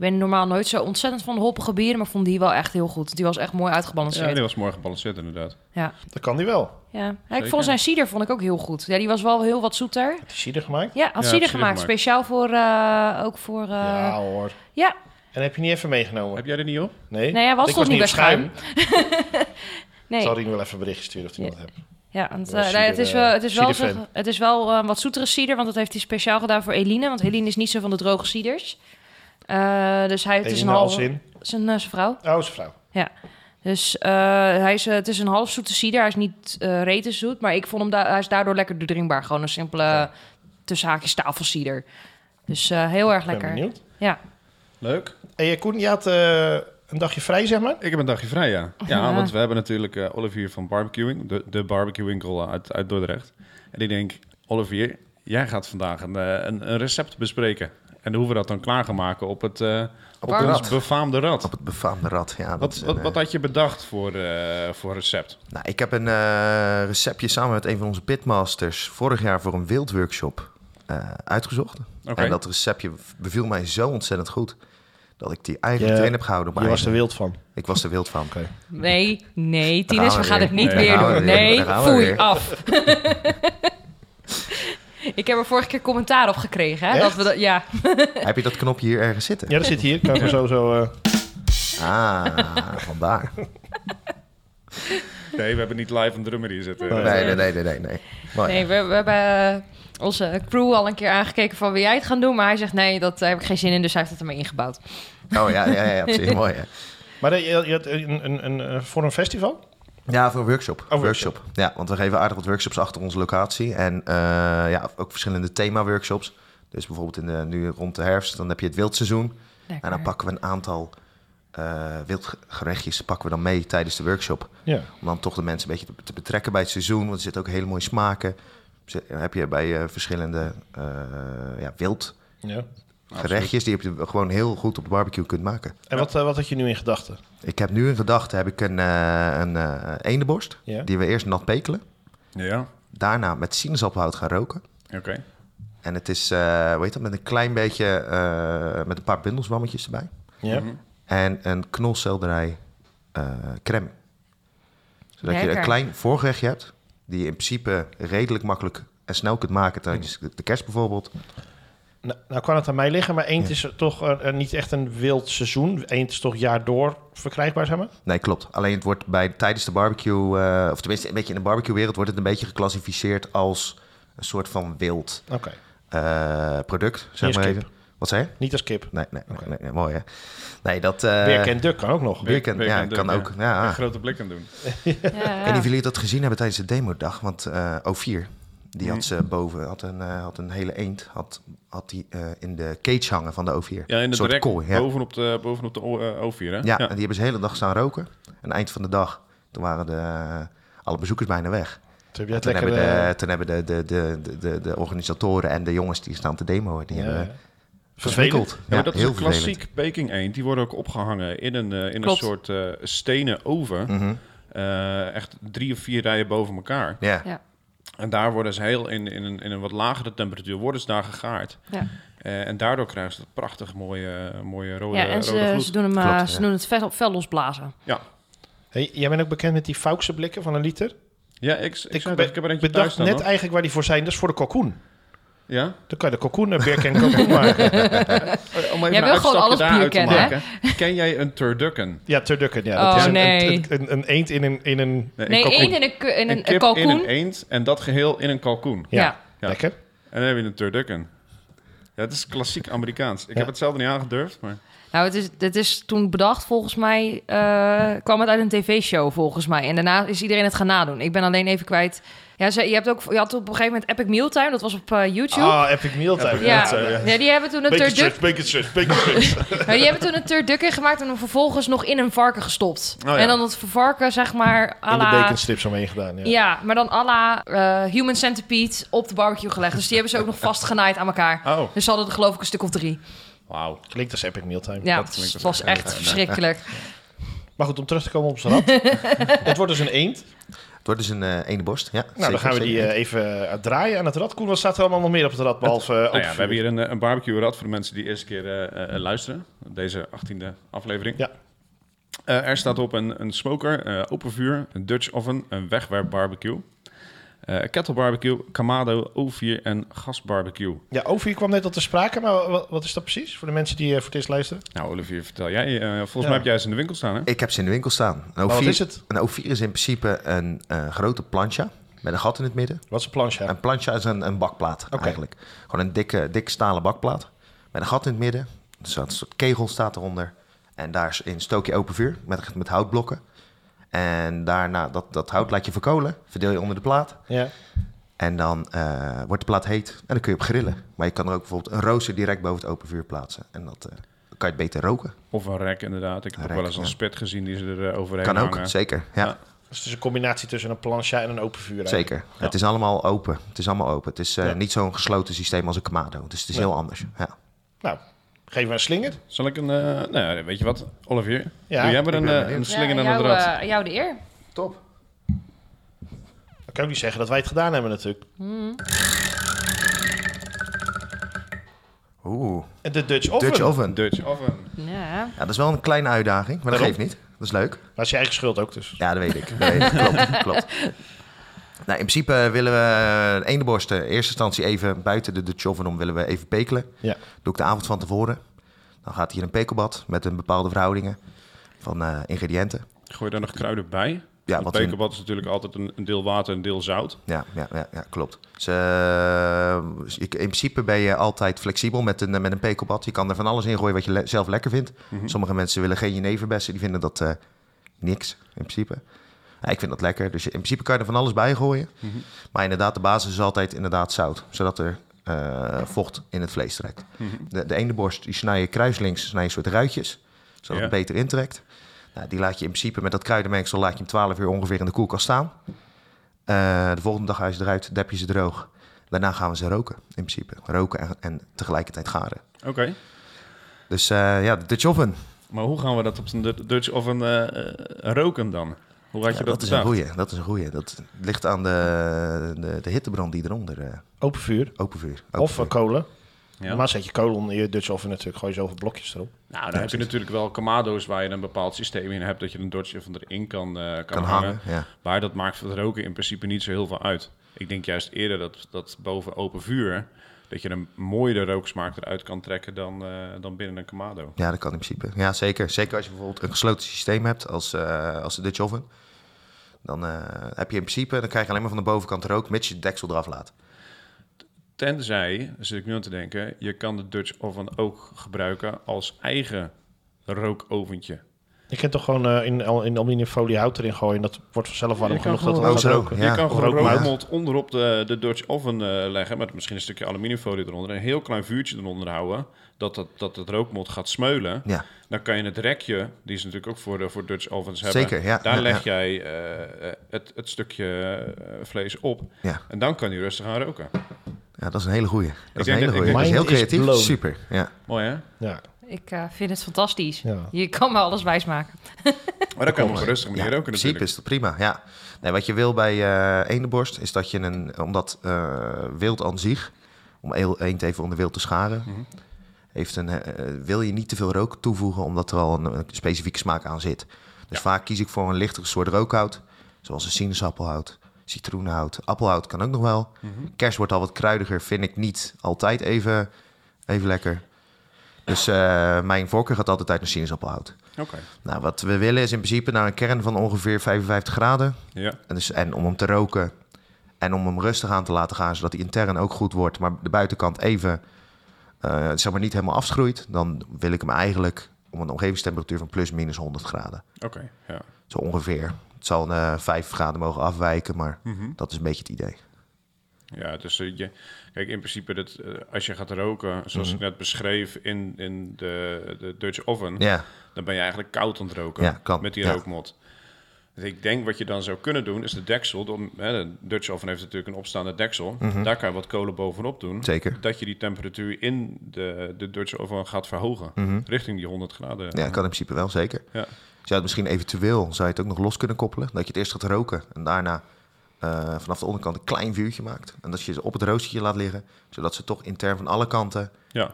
[SPEAKER 3] Ik ben normaal nooit zo ontzettend van de hoppige bieren, maar vond die wel echt heel goed. Die was echt mooi
[SPEAKER 2] Ja,
[SPEAKER 3] uitgebalanceerd.
[SPEAKER 2] die
[SPEAKER 3] Ja,
[SPEAKER 2] was morgen gebalanceerd inderdaad.
[SPEAKER 3] ja.
[SPEAKER 1] Dat kan die wel.
[SPEAKER 3] Ja, ik
[SPEAKER 2] Zeker.
[SPEAKER 3] vond zijn cider vond ik ook heel goed. Ja, die was wel heel wat zoeter.
[SPEAKER 1] Had je cider gemaakt?
[SPEAKER 3] Ja, had
[SPEAKER 2] Ja,
[SPEAKER 3] cider
[SPEAKER 2] cider
[SPEAKER 3] gemaakt.
[SPEAKER 2] gemaakt.
[SPEAKER 3] Speciaal voor, eh, ook voor... eh,
[SPEAKER 1] ja
[SPEAKER 3] ja.
[SPEAKER 1] hoor. En heb je niet even meegenomen?
[SPEAKER 2] Heb jij er niet op?
[SPEAKER 1] Nee?
[SPEAKER 3] Nee, hij was
[SPEAKER 1] Ik
[SPEAKER 3] toch niet bij
[SPEAKER 1] op Ik
[SPEAKER 3] nee.
[SPEAKER 1] zal Rien wel even een berichtje sturen of hij dat hebt.
[SPEAKER 3] Ja, want,
[SPEAKER 1] Ja,
[SPEAKER 3] eh, nee, het,
[SPEAKER 1] cider,
[SPEAKER 3] is wel,
[SPEAKER 1] eh,
[SPEAKER 3] het is wel,
[SPEAKER 1] ciderfan.
[SPEAKER 3] zeg- het is wel eh, wat zoetere cider, want dat heeft hij speciaal gedaan voor Eline. Want Eline is niet zo van de droge ciders. Eh, dus hij, het is een
[SPEAKER 1] hals
[SPEAKER 3] halve...
[SPEAKER 1] in.
[SPEAKER 3] Zijn, eh, zijn vrouw.
[SPEAKER 1] Oh, zijn vrouw.
[SPEAKER 3] Dus eh, hij is, eh, het is een half zoete cider. Hij is niet eh rete zoet, maar ik vond hem da- hij is daardoor lekker drinkbaar. Gewoon een simpele
[SPEAKER 1] Ja.
[SPEAKER 3] tussen haakjes tafelcider. Dus eh, heel erg
[SPEAKER 1] Ik ben
[SPEAKER 3] lekker.
[SPEAKER 1] benieuwd.
[SPEAKER 3] Ja.
[SPEAKER 2] Leuk.
[SPEAKER 1] Hey, eh, Koen, je had eh, een dagje vrij, zeg maar.
[SPEAKER 2] Ik heb een dagje vrij, ja. Ja,
[SPEAKER 3] Ja.
[SPEAKER 2] want we hebben natuurlijk eh, Olivier van Barbecuing, de, de barbecuewinkel eh, uit, uit Dordrecht. En ik denk, Olivier, jij gaat vandaag een, eh, een, een recept bespreken. En hoe we dat dan klaar gaan maken op het eh, op
[SPEAKER 4] het
[SPEAKER 2] ons
[SPEAKER 4] rad.
[SPEAKER 2] befaamde rad.
[SPEAKER 4] Op het befaamde rad. Ja, dat
[SPEAKER 2] Wat,
[SPEAKER 4] is een,
[SPEAKER 2] wat,
[SPEAKER 4] eh,
[SPEAKER 2] wat had je bedacht voor, eh, voor recept?
[SPEAKER 4] Nou, ik heb een eh, receptje samen met een van onze pitmasters vorig jaar voor een wildworkshop eh, uitgezocht.
[SPEAKER 2] Oké,
[SPEAKER 4] En dat receptje beviel mij zo ontzettend goed dat ik die eigenlijk
[SPEAKER 1] Je-
[SPEAKER 4] erin heb gehouden. Maar
[SPEAKER 1] Je was er wild van.
[SPEAKER 4] Ik was er wild
[SPEAKER 3] *laughs*
[SPEAKER 4] van.
[SPEAKER 3] Nee, nee,
[SPEAKER 4] Daar
[SPEAKER 3] Tinus,
[SPEAKER 4] gaan
[SPEAKER 3] we
[SPEAKER 4] we
[SPEAKER 3] gaan
[SPEAKER 4] weer.
[SPEAKER 3] het niet
[SPEAKER 2] Daar
[SPEAKER 3] weer
[SPEAKER 4] gaan we
[SPEAKER 3] doen.
[SPEAKER 4] weer.
[SPEAKER 3] Nee,
[SPEAKER 4] Daar gaan we
[SPEAKER 3] foei,
[SPEAKER 4] weer.
[SPEAKER 3] af. *laughs* ik heb er vorige keer commentaar op gekregen. Hè? Dat
[SPEAKER 1] Echt?
[SPEAKER 3] we dat, ja.
[SPEAKER 4] heb je dat knopje hier ergens zitten?
[SPEAKER 1] Ja, dat zit hier.
[SPEAKER 3] *laughs*
[SPEAKER 1] Kan ik maar zo, zo, eh,
[SPEAKER 4] Ah, vandaar.
[SPEAKER 1] Oh,
[SPEAKER 2] nee, we hebben niet live een drummer hier zitten.
[SPEAKER 1] Nee.
[SPEAKER 4] Nee, nee, nee, nee, nee. nee. Maar Oh, ja,
[SPEAKER 3] Nee, we, we hebben eh, onze crew al een keer aangekeken van wil jij het gaan doen. Maar hij zegt nee, dat heb ik geen zin in, dus hij heeft het ermee ingebouwd.
[SPEAKER 4] Oh ja, ja, ja, ja precies. Mooi. Hè.
[SPEAKER 1] Maar eh, je, je had een, een, een, eh, voor een festival?
[SPEAKER 4] Ja, voor een workshop.
[SPEAKER 1] workshop.
[SPEAKER 4] workshop. Ja, want we geven aardig wat workshops achter onze locatie. En eh, ja, ook verschillende thema-workshops. Dus bijvoorbeeld in de, nu rond de herfst, dan heb je het wildseizoen. En dan pakken we een aantal eh, wildgerechtjes pakken we dan mee tijdens de workshop.
[SPEAKER 1] Ja.
[SPEAKER 4] Om dan toch de mensen een beetje te, te betrekken bij het seizoen. Want er zitten ook hele mooie smaken. Ze- heb je bij eh, verschillende eh ja, wildgerechtjes
[SPEAKER 1] ja.
[SPEAKER 4] die heb je gewoon heel goed op de barbecue kunt maken.
[SPEAKER 1] En wat, eh, wat had je nu in gedachten?
[SPEAKER 4] Ik heb nu in gedachten heb ik een, eh een eh, eendenborst.
[SPEAKER 1] Ja.
[SPEAKER 4] Die we eerst nat pekelen.
[SPEAKER 2] Ja,
[SPEAKER 4] Daarna met sinaasappelhout gaan roken.
[SPEAKER 2] oké.
[SPEAKER 4] En het is, eh hoe heet dat, met een klein beetje, eh, met een paar bundels wammetjes erbij.
[SPEAKER 1] Ja.
[SPEAKER 2] Mhm.
[SPEAKER 4] En een knolselderij eh crème. Zodat je
[SPEAKER 3] Lekker.
[SPEAKER 4] een klein voorgerechtje hebt, die je in principe redelijk makkelijk en snel kunt maken tijdens de- de kerst bijvoorbeeld.
[SPEAKER 1] Nou, nou kan het aan mij liggen, maar eend is toch eh, eh, niet echt een wild seizoen. Eend is toch jaar door verkrijgbaar, zeg maar?
[SPEAKER 4] Nee, klopt. Alleen het wordt bij, tijdens de barbecue, eh, of tenminste een beetje in de barbecue-wereld, wordt het een beetje geclassificeerd als een soort van wild
[SPEAKER 1] Oké.
[SPEAKER 4] eh, product,
[SPEAKER 1] Niet
[SPEAKER 4] zeg
[SPEAKER 1] als
[SPEAKER 4] maar
[SPEAKER 1] kip.
[SPEAKER 4] even. Wat zei je?
[SPEAKER 1] Niet als kip.
[SPEAKER 4] Nee, nee, nee, nee, mooi hè. Nee, dat... eh,
[SPEAKER 1] Beer en duk kan ook nog.
[SPEAKER 4] Beer can-
[SPEAKER 2] Beer
[SPEAKER 4] ja,
[SPEAKER 2] can do,
[SPEAKER 4] kan
[SPEAKER 2] ja.
[SPEAKER 4] ook. Ja,
[SPEAKER 2] Een grote blik aan doen.
[SPEAKER 4] *laughs* Ik weet niet of jullie dat gezien hebben tijdens de demodag, want eh O4, die had ze boven, had een, eh, had een hele eend, had, had die eh, in de cage hangen van de O4.
[SPEAKER 2] Ja, in
[SPEAKER 4] Een
[SPEAKER 2] de
[SPEAKER 4] soort
[SPEAKER 2] direct
[SPEAKER 4] kooi, ja.
[SPEAKER 2] bovenop de, bovenop de o- eh, O4, hè?
[SPEAKER 4] Ja, en die hebben ze de hele dag staan roken. En eind van de dag, toen waren de, eh, alle bezoekers bijna weg.
[SPEAKER 1] Toen heb je dat
[SPEAKER 4] toen,
[SPEAKER 1] lekker...
[SPEAKER 4] hebben de,
[SPEAKER 1] eh,
[SPEAKER 4] toen hebben de, de, de, de, de, de organisatoren en de jongens die staan te demoen, die
[SPEAKER 1] ja,
[SPEAKER 4] hebben
[SPEAKER 1] ja.
[SPEAKER 4] gesmikkeld.
[SPEAKER 1] Vervelend.
[SPEAKER 2] Ja,
[SPEAKER 4] Ja,
[SPEAKER 2] maar dat is
[SPEAKER 4] heel
[SPEAKER 2] een klassiek Peking eend. Die worden ook opgehangen in een, eh, in een
[SPEAKER 3] Klopt. Hm.
[SPEAKER 2] soort eh, stenen oven.
[SPEAKER 4] vervelend. Mhm.
[SPEAKER 2] Eh, echt drie of vier rijen boven elkaar.
[SPEAKER 4] Ja,
[SPEAKER 2] En daar worden ze heel in, in, een, in een wat lagere temperatuur worden ze daar gegaard.
[SPEAKER 3] Ja.
[SPEAKER 2] Eh, en daardoor krijgen ze dat prachtig mooie, eh, mooie rode,
[SPEAKER 3] Ja, en
[SPEAKER 2] rode
[SPEAKER 3] ze,
[SPEAKER 2] gloed.
[SPEAKER 3] ze doen hem, eh,
[SPEAKER 4] Klopt,
[SPEAKER 3] ze
[SPEAKER 4] ja.
[SPEAKER 3] doen het vel, vel losblazen.
[SPEAKER 1] Hey, jij bent ook bekend met die Faukse blikken van een liter.
[SPEAKER 2] Ja, ik, ik,
[SPEAKER 1] Ik
[SPEAKER 2] zei
[SPEAKER 1] be-
[SPEAKER 2] dat, ik heb
[SPEAKER 1] Ik
[SPEAKER 2] er eentje thuis
[SPEAKER 1] bedacht
[SPEAKER 2] staan.
[SPEAKER 1] net
[SPEAKER 2] hoor.
[SPEAKER 1] eigenlijk waar die voor zijn. Dat is voor de kalkoen.
[SPEAKER 2] Ja?
[SPEAKER 1] Dan kan je de kalkoen, een beer en kalkoen *laughs* maken.
[SPEAKER 2] Oh, Om even een
[SPEAKER 3] wil gewoon
[SPEAKER 2] uitstapje
[SPEAKER 3] alles
[SPEAKER 2] daaruit
[SPEAKER 3] bier
[SPEAKER 2] te
[SPEAKER 3] kennen, hè?
[SPEAKER 2] maken. Ken jij een turducken?
[SPEAKER 1] Ja, turducken. Ja,
[SPEAKER 3] Oh,
[SPEAKER 1] is een,
[SPEAKER 3] nee.
[SPEAKER 1] een, een, een eend in een... In een
[SPEAKER 2] Nee, een
[SPEAKER 3] Nee,
[SPEAKER 2] kalkoen.
[SPEAKER 3] één in een, ku- in een,
[SPEAKER 2] kip
[SPEAKER 3] kalkoen.
[SPEAKER 2] in een eend en dat geheel in een kalkoen.
[SPEAKER 1] ja.
[SPEAKER 3] Ja.
[SPEAKER 2] Ja.
[SPEAKER 1] Lekker.
[SPEAKER 2] En dan heb je een turducken. Ja, het is klassiek Amerikaans. Ik
[SPEAKER 1] Ja.
[SPEAKER 2] heb het zelden niet aangedurfd, maar...
[SPEAKER 3] Nou, het is, het is toen bedacht, volgens mij, eh, kwam het uit een tv-show, volgens mij. En daarna is iedereen het gaan nadoen. Ik ben alleen even kwijt. Ja, ze, je, hebt ook, je had op een gegeven moment Epic Mealtime, dat was op eh, YouTube.
[SPEAKER 1] Ah, epic mealtime.
[SPEAKER 3] ja.
[SPEAKER 1] Dat, eh,
[SPEAKER 3] ja. die hebben toen een
[SPEAKER 1] Bacon
[SPEAKER 3] turduk,
[SPEAKER 1] strips, bacon strips, bacon strips.
[SPEAKER 3] Nou, die hebben toen een turdukken gemaakt en hem vervolgens nog in een varken gestopt.
[SPEAKER 2] ja.
[SPEAKER 3] En dan dat varken, zeg maar, à
[SPEAKER 1] In de
[SPEAKER 3] la...
[SPEAKER 1] bacon strips omheen gedaan, ja.
[SPEAKER 3] Ja, maar dan à la eh, Human Centipede op de barbecue gelegd. Dus die hebben ze ook nog vastgenaaid aan elkaar.
[SPEAKER 2] Oh,
[SPEAKER 3] Dus ze hadden er geloof ik een stuk of drie.
[SPEAKER 2] wauw.
[SPEAKER 1] Klinkt als epic mealtime.
[SPEAKER 3] Ja,
[SPEAKER 2] Dat
[SPEAKER 3] het
[SPEAKER 2] klinkt
[SPEAKER 3] was- was
[SPEAKER 2] als-
[SPEAKER 3] echt verschrikkelijk.
[SPEAKER 1] Maar goed, om terug te komen op zijn
[SPEAKER 3] *laughs*
[SPEAKER 1] rad. het wordt dus een eend.
[SPEAKER 4] het wordt dus een eh ene borst. Ja,
[SPEAKER 1] Nou, dan gaan we die eh, even eh, draaien aan het rad. Koen, wat staat er allemaal nog meer op het rad? Behalve eh,
[SPEAKER 2] Nou ja,
[SPEAKER 1] open
[SPEAKER 2] we
[SPEAKER 1] vuur?
[SPEAKER 2] hebben hier een, eh, een barbecue-rad voor de mensen die de eerste keer eh, eh, eh, luisteren. Deze 18e aflevering.
[SPEAKER 1] Ja.
[SPEAKER 2] Eh, er staat op een, een smoker, eh, open vuur, een Dutch oven, een wegwerpbarbecue, eh kettle barbecue, kamado, O4 en gasbarbecue.
[SPEAKER 1] Ja, Ovi kwam net al te sprake, maar wa- wa- wat is dat precies? Voor de mensen die eh, voor het eerst luisteren.
[SPEAKER 2] Nou, Olivier, vertel jij. eh, volgens
[SPEAKER 1] Ja.
[SPEAKER 2] mij heb jij ze in de winkel staan, hè?
[SPEAKER 4] Ik heb ze in de winkel staan. Een
[SPEAKER 1] Maar wat
[SPEAKER 4] O4
[SPEAKER 1] is het?
[SPEAKER 4] Een O4 is in principe een eh, grote plancha met een gat in het midden.
[SPEAKER 1] Wat is een planche?
[SPEAKER 4] Een plancha is een, een bakplaat eigenlijk. Gewoon een dikke, dik stalen bakplaat met een gat in het midden. Er staat een soort kegel staat eronder. En daarin stook je open vuur met, met houtblokken. En daarna, dat, dat hout laat je verkolen, verdeel je onder de plaat.
[SPEAKER 1] Ja.
[SPEAKER 4] En dan eh, wordt de plaat heet en dan kun je op grillen. Maar je kan er ook bijvoorbeeld een rooster direct boven het open vuur plaatsen. En dat eh, kan je het beter roken.
[SPEAKER 2] Of een rek, inderdaad. Ik heb
[SPEAKER 4] Een
[SPEAKER 2] ook wel
[SPEAKER 4] rek,
[SPEAKER 2] eens een
[SPEAKER 4] ja.
[SPEAKER 2] spit gezien die ze er eh, overheen
[SPEAKER 4] kan ook,
[SPEAKER 2] hangen.
[SPEAKER 4] zeker. Ja,
[SPEAKER 2] Ja.
[SPEAKER 1] Dus het is een combinatie tussen een plancha en een open vuur. eigenlijk.
[SPEAKER 4] zeker. Het is allemaal open. Het is allemaal open. Het is eh,
[SPEAKER 1] Ja.
[SPEAKER 4] niet zo'n gesloten systeem als een Kamado. Dus het is
[SPEAKER 1] Nee.
[SPEAKER 4] heel anders. Ja.
[SPEAKER 1] Nou, geef maar een slinger.
[SPEAKER 2] Zal ik een... eh, nou, ja, weet je wat, Olivier?
[SPEAKER 1] Ja,
[SPEAKER 2] Doe jij maar
[SPEAKER 4] ik
[SPEAKER 2] een,
[SPEAKER 4] ben
[SPEAKER 2] eh,
[SPEAKER 4] benieuwd.
[SPEAKER 2] een slinger aan de
[SPEAKER 3] jou,
[SPEAKER 2] draad.
[SPEAKER 3] eh, jou de eer.
[SPEAKER 4] Top.
[SPEAKER 1] Dan kan ik niet zeggen dat wij het gedaan hebben natuurlijk.
[SPEAKER 4] Oeh,
[SPEAKER 1] De Dutch Oven.
[SPEAKER 4] Dutch
[SPEAKER 2] Een
[SPEAKER 4] oven.
[SPEAKER 2] Dutch oven.
[SPEAKER 3] Ja.
[SPEAKER 4] Ja, dat is wel een kleine uitdaging, maar dat
[SPEAKER 1] Waarom?
[SPEAKER 4] geeft niet. Dat is leuk.
[SPEAKER 1] Maar dat is je eigen schuld ook dus.
[SPEAKER 4] Ja, dat weet ik. Dat weet ik. Klopt, *laughs* klopt. Nou, in principe willen we eh, de eendenborsten in eerste instantie even buiten de Dutch oven om willen we even pekelen.
[SPEAKER 1] Ja.
[SPEAKER 4] Doe ik de avond van tevoren. Dan gaat hier een pekelbad met een bepaalde verhoudingen van eh, ingrediënten.
[SPEAKER 2] Gooi je daar nog kruiden bij?
[SPEAKER 4] Ja,
[SPEAKER 2] Want
[SPEAKER 4] wat een,
[SPEAKER 2] pekerbad is natuurlijk altijd een, een deel water en een deel zout.
[SPEAKER 4] ja, ja, ja, ja, klopt. Dus, eh, je- in principe ben je altijd flexibel met een, met een pekelbad. Je kan er van alles in gooien wat je le- zelf lekker vindt. Sommige mensen willen geen jeneverbessen, die vinden dat eh, niks in principe. Ja, ik vind dat lekker, dus je- in principe kan je er van alles bij gooien. Maar inderdaad, de basis is altijd inderdaad zout, zodat er eh, vocht in het vlees trekt. De, de ene borst, die snij je kruislinks, snij je een soort ruitjes, zodat
[SPEAKER 2] Ja.
[SPEAKER 4] het beter intrekt. Nou, die laat je in principe met dat kruidenmengsel laat je hem 12 uur ongeveer in de koelkast staan. Eh, de volgende dag haal je ze eruit, dep je ze droog. Daarna gaan we ze roken, in principe. Roken en, en tegelijkertijd garen.
[SPEAKER 2] Oké.
[SPEAKER 4] Dus eh, ja, de Dutch oven.
[SPEAKER 2] Maar hoe gaan we dat op een Du- Dutch oven eh, eh, roken dan? Hoe had je
[SPEAKER 4] Ja,
[SPEAKER 2] dat,
[SPEAKER 4] dat, is een
[SPEAKER 2] bedacht?
[SPEAKER 4] goeie, dat is een goeie. Dat ligt aan de, de, de hittebrand die eronder. eh,
[SPEAKER 1] Open vuur.
[SPEAKER 4] open vuur. Open
[SPEAKER 1] Of
[SPEAKER 4] vuur.
[SPEAKER 1] eh, kolen.
[SPEAKER 2] Ja.
[SPEAKER 1] Normaal zet je kolen onder je Dutch Oven natuurlijk. Gooi je zoveel blokjes erop.
[SPEAKER 2] Nou, dan heb je natuurlijk wel kamado's waar je een bepaald systeem in hebt dat je een Dutch oven erin kan, eh, kan,
[SPEAKER 4] kan
[SPEAKER 2] hangen.
[SPEAKER 4] hangen. Ja.
[SPEAKER 2] Maar dat maakt voor het roken in principe niet zo heel veel uit. Ik denk juist eerder dat, dat boven open vuur dat je een mooiere rooksmaak eruit kan trekken dan, eh, dan binnen een kamado.
[SPEAKER 4] ja, dat kan in principe. Ja, zeker. Zeker als je bijvoorbeeld een gesloten systeem hebt als, eh, als de Dutch oven. Dan eh, heb je in principe, dan krijg je alleen maar van de bovenkant rook, mits je het deksel eraf laat.
[SPEAKER 2] Tenzij, zit ik nu aan te denken, je kan de Dutch oven ook gebruiken als eigen rookoventje.
[SPEAKER 1] Je kunt toch gewoon eh, in, al- in aluminiumfolie hout erin gooien. En dat wordt vanzelf warm
[SPEAKER 2] Je kan
[SPEAKER 1] genoeg dat het
[SPEAKER 2] gewoon-
[SPEAKER 1] gaat
[SPEAKER 4] Oh, zo.
[SPEAKER 1] roken.
[SPEAKER 4] Ja,
[SPEAKER 2] je kan
[SPEAKER 1] of
[SPEAKER 2] gewoon
[SPEAKER 1] rookmout.
[SPEAKER 2] rookmout onderop de, de Dutch oven eh, leggen... met misschien een stukje aluminiumfolie eronder... en een heel klein vuurtje eronder houden... dat het, dat het rookmot gaat smeulen.
[SPEAKER 4] Ja.
[SPEAKER 2] Dan kan je het rekje, die ze natuurlijk ook voor, de, voor Dutch ovens hebben...
[SPEAKER 4] Zeker, ja.
[SPEAKER 2] daar
[SPEAKER 4] Ja,
[SPEAKER 2] leg jij eh, eh, het, het stukje eh, vlees op...
[SPEAKER 4] Ja.
[SPEAKER 2] en dan kan je rustig gaan roken.
[SPEAKER 4] ja, dat is een hele goeie. Dat is
[SPEAKER 2] denk
[SPEAKER 4] een hele
[SPEAKER 2] dat- ik
[SPEAKER 4] goeie. Dat
[SPEAKER 1] denk-
[SPEAKER 4] is heel
[SPEAKER 1] Mind is
[SPEAKER 4] creatief.
[SPEAKER 1] blown.
[SPEAKER 4] Super. Ja.
[SPEAKER 2] Mooi, hè?
[SPEAKER 1] Ja.
[SPEAKER 3] Ik eh, vind het fantastisch.
[SPEAKER 1] Ja.
[SPEAKER 3] Je kan me alles wijsmaken.
[SPEAKER 2] Maar dan kan je op een rustige manier
[SPEAKER 4] ja,
[SPEAKER 2] roken
[SPEAKER 4] in principe
[SPEAKER 2] natuurlijk.
[SPEAKER 4] is dat prima, ja. Nee, wat je wil bij eh eendenborst is dat je een... Omdat eh, wild aan zich, om eel- eend even onder wild te scharen... Heeft een, eh, eh, wil je niet te veel rook toevoegen, omdat er al een, een specifieke smaak aan zit. Dus vaak kies ik voor een lichtere soort rookhout. Zoals een sinaasappelhout, citroenhout, appelhout kan ook nog wel. Kers wordt al wat kruidiger, vind ik niet altijd even, even lekker. Dus eh, mijn voorkeur gaat altijd uit naar sinaasappelhout.
[SPEAKER 2] Oké,
[SPEAKER 4] Nou, wat we willen is in principe naar een kern van ongeveer 55 graden.
[SPEAKER 2] ja.
[SPEAKER 4] En, dus, en om hem te roken en om hem rustig aan te laten gaan, zodat hij intern ook goed wordt, maar de buitenkant even, eh, zeg maar, niet helemaal afschroeit. Dan wil ik hem eigenlijk om een omgevingstemperatuur van plus minus 100 graden.
[SPEAKER 2] Oké, ja.
[SPEAKER 4] Zo ongeveer. Het zal eh 5 graden mogen afwijken, maar
[SPEAKER 2] Mhm.
[SPEAKER 4] dat is een beetje het idee.
[SPEAKER 2] Ja, dus eh, je, kijk, in principe, dat, eh, als je gaat roken,
[SPEAKER 4] Mhm.
[SPEAKER 2] zoals ik net beschreef in, in de, de Dutch oven,
[SPEAKER 4] Ja,
[SPEAKER 2] dan ben je eigenlijk koud aan het roken
[SPEAKER 4] Ja, kan.
[SPEAKER 2] met die
[SPEAKER 4] Ja.
[SPEAKER 2] rookmot. Dus ik denk wat je dan zou kunnen doen, is de deksel, door, hè, de Dutch oven heeft natuurlijk een opstaande deksel, daar kan je wat kolen bovenop doen,
[SPEAKER 4] Mhm. zeker.
[SPEAKER 2] dat je die temperatuur in de, de Dutch oven gaat verhogen,
[SPEAKER 4] Mhm.
[SPEAKER 2] richting die 100 graden.
[SPEAKER 4] Ja, kan in principe wel, zeker.
[SPEAKER 2] Ehm, Ja.
[SPEAKER 4] Zou je het misschien eventueel zou je het ook nog los kunnen koppelen? Dat je het eerst gaat roken en daarna eh, vanaf de onderkant een klein vuurtje maakt. En dat je ze op het roostertje laat liggen, zodat ze toch intern van alle kanten
[SPEAKER 2] Ja.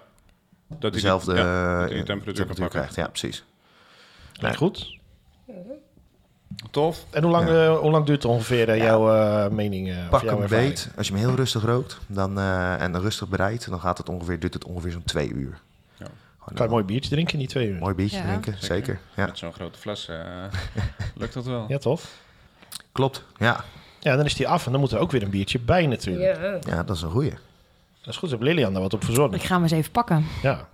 [SPEAKER 2] Dat die-
[SPEAKER 4] dezelfde
[SPEAKER 2] ja,
[SPEAKER 4] eh,
[SPEAKER 2] dat die temperatuur, kan pakken.
[SPEAKER 4] krijgt. Ja, precies.
[SPEAKER 1] Lijkt goed.
[SPEAKER 4] eh,
[SPEAKER 2] Tof.
[SPEAKER 1] En hoe lang, eh, hoe lang duurt ongeveer eh, jouw eh, mening? eh, of
[SPEAKER 4] Pak
[SPEAKER 1] jouw
[SPEAKER 4] hem
[SPEAKER 1] ervaring?
[SPEAKER 4] beet. Als je hem heel rustig rookt dan, eh, en dan rustig bereidt, dan gaat het ongeveer, duurt het ongeveer zo'n twee uur.
[SPEAKER 2] Ja.
[SPEAKER 4] Gewoon
[SPEAKER 1] Kan je
[SPEAKER 4] een
[SPEAKER 1] een mooi biertje drinken in die twee uur?
[SPEAKER 4] mooi biertje
[SPEAKER 3] Ja.
[SPEAKER 4] drinken,
[SPEAKER 2] Zeker.
[SPEAKER 4] zeker. Ja,
[SPEAKER 2] Met zo'n grote fles
[SPEAKER 4] *laughs*
[SPEAKER 2] eh, lukt dat wel.
[SPEAKER 1] Ja, tof.
[SPEAKER 4] klopt. Ja.
[SPEAKER 1] Ja, dan is die af en dan moet er ook weer een biertje bij natuurlijk.
[SPEAKER 4] ja, dat is een goeie.
[SPEAKER 1] Dat is goed, heb Lilian daar wat op verzorgd.
[SPEAKER 3] Ik ga hem eens even pakken.
[SPEAKER 1] Ja.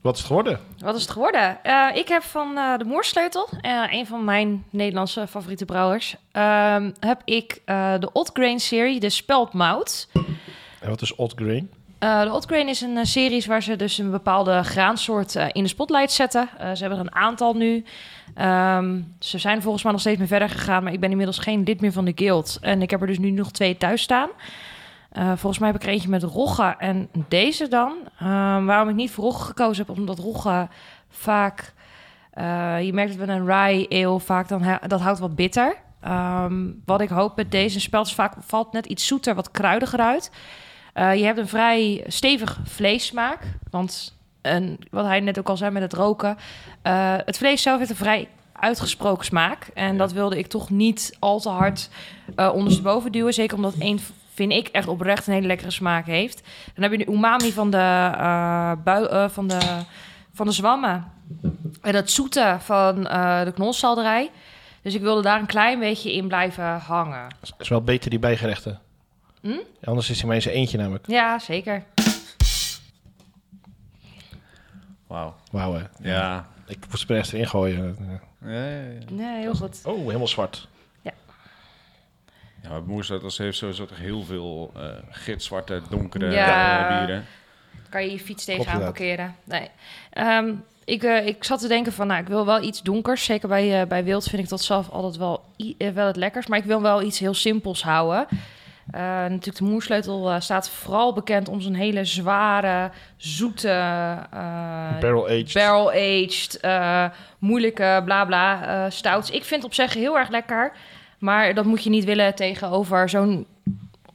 [SPEAKER 1] Wat is het geworden?
[SPEAKER 3] Wat is het geworden? Eh, ik heb van eh, de Moersleutel, eh, een van mijn Nederlandse favoriete brouwers, ehm, heb ik eh, de Odd Grain serie, de Speldmout.
[SPEAKER 1] En wat is Odd Grain?
[SPEAKER 3] Eh, de Odd Grain is een eh, series waar ze dus een bepaalde graansoort eh, in de spotlight zetten. Eh, ze hebben er een aantal nu. Ehm, ze zijn volgens mij nog steeds meer verder gegaan, maar ik ben inmiddels geen lid meer van de guild. En ik heb er dus nu nog twee thuis staan. Eh, volgens mij heb ik er eentje met Rogge en deze dan. Ehm, waarom ik niet voor Rogge gekozen heb, omdat Rogge vaak... eh, je merkt dat we een rye ale vaak, dan ha- dat houdt wat bitter. Ehm, wat ik hoop met deze spels, vaak valt net iets zoeter, wat kruidiger uit. Eh, je hebt een vrij stevig vleessmaak. Want een, wat hij net ook al zei met het roken. eh, het vlees zelf heeft een vrij uitgesproken smaak. En dat wilde ik toch niet al te hard eh ondersteboven duwen. Zeker omdat één, vind ik, echt oprecht een hele lekkere smaak heeft. Dan heb je de umami van de, eh, bui, eh, van de, van de zwammen. En dat zoete van eh, de knolselderij. Dus ik wilde daar een klein beetje in blijven hangen.
[SPEAKER 1] Dat is wel beter die bijgerechten.
[SPEAKER 3] Hm?
[SPEAKER 1] Anders is hij maar in zijn eentje namelijk.
[SPEAKER 3] Ja, zeker.
[SPEAKER 2] Wauw.
[SPEAKER 1] Wauw, hè.
[SPEAKER 2] Ja.
[SPEAKER 1] Ik moest er echt erin gooien.
[SPEAKER 2] Ja, ja, ja.
[SPEAKER 3] Nee, heel goed.
[SPEAKER 1] Oh, helemaal zwart.
[SPEAKER 2] Ja, maar Moersuitels heeft sowieso toch heel veel eh gitzwarte, donkere
[SPEAKER 3] Ja.
[SPEAKER 2] eh, bieren.
[SPEAKER 3] kan je je fiets
[SPEAKER 1] Klopt
[SPEAKER 3] tegenaan
[SPEAKER 1] inderdaad.
[SPEAKER 3] parkeren. Nee. Ehm, ik, eh, ik zat te denken van, nou, ik wil wel iets donkers. Zeker bij, eh, bij wild vind ik dat zelf altijd wel, i- eh, wel het lekkers. Maar ik wil wel iets heel simpels houden. Eh, natuurlijk, de moersleutel eh, staat vooral bekend om zijn hele zware, zoete... eh,
[SPEAKER 1] Barrel aged.
[SPEAKER 3] barrel-aged, eh, moeilijke bla bla eh, stouts. Ik vind het op zich heel erg lekker, maar dat moet je niet willen tegenover zo'n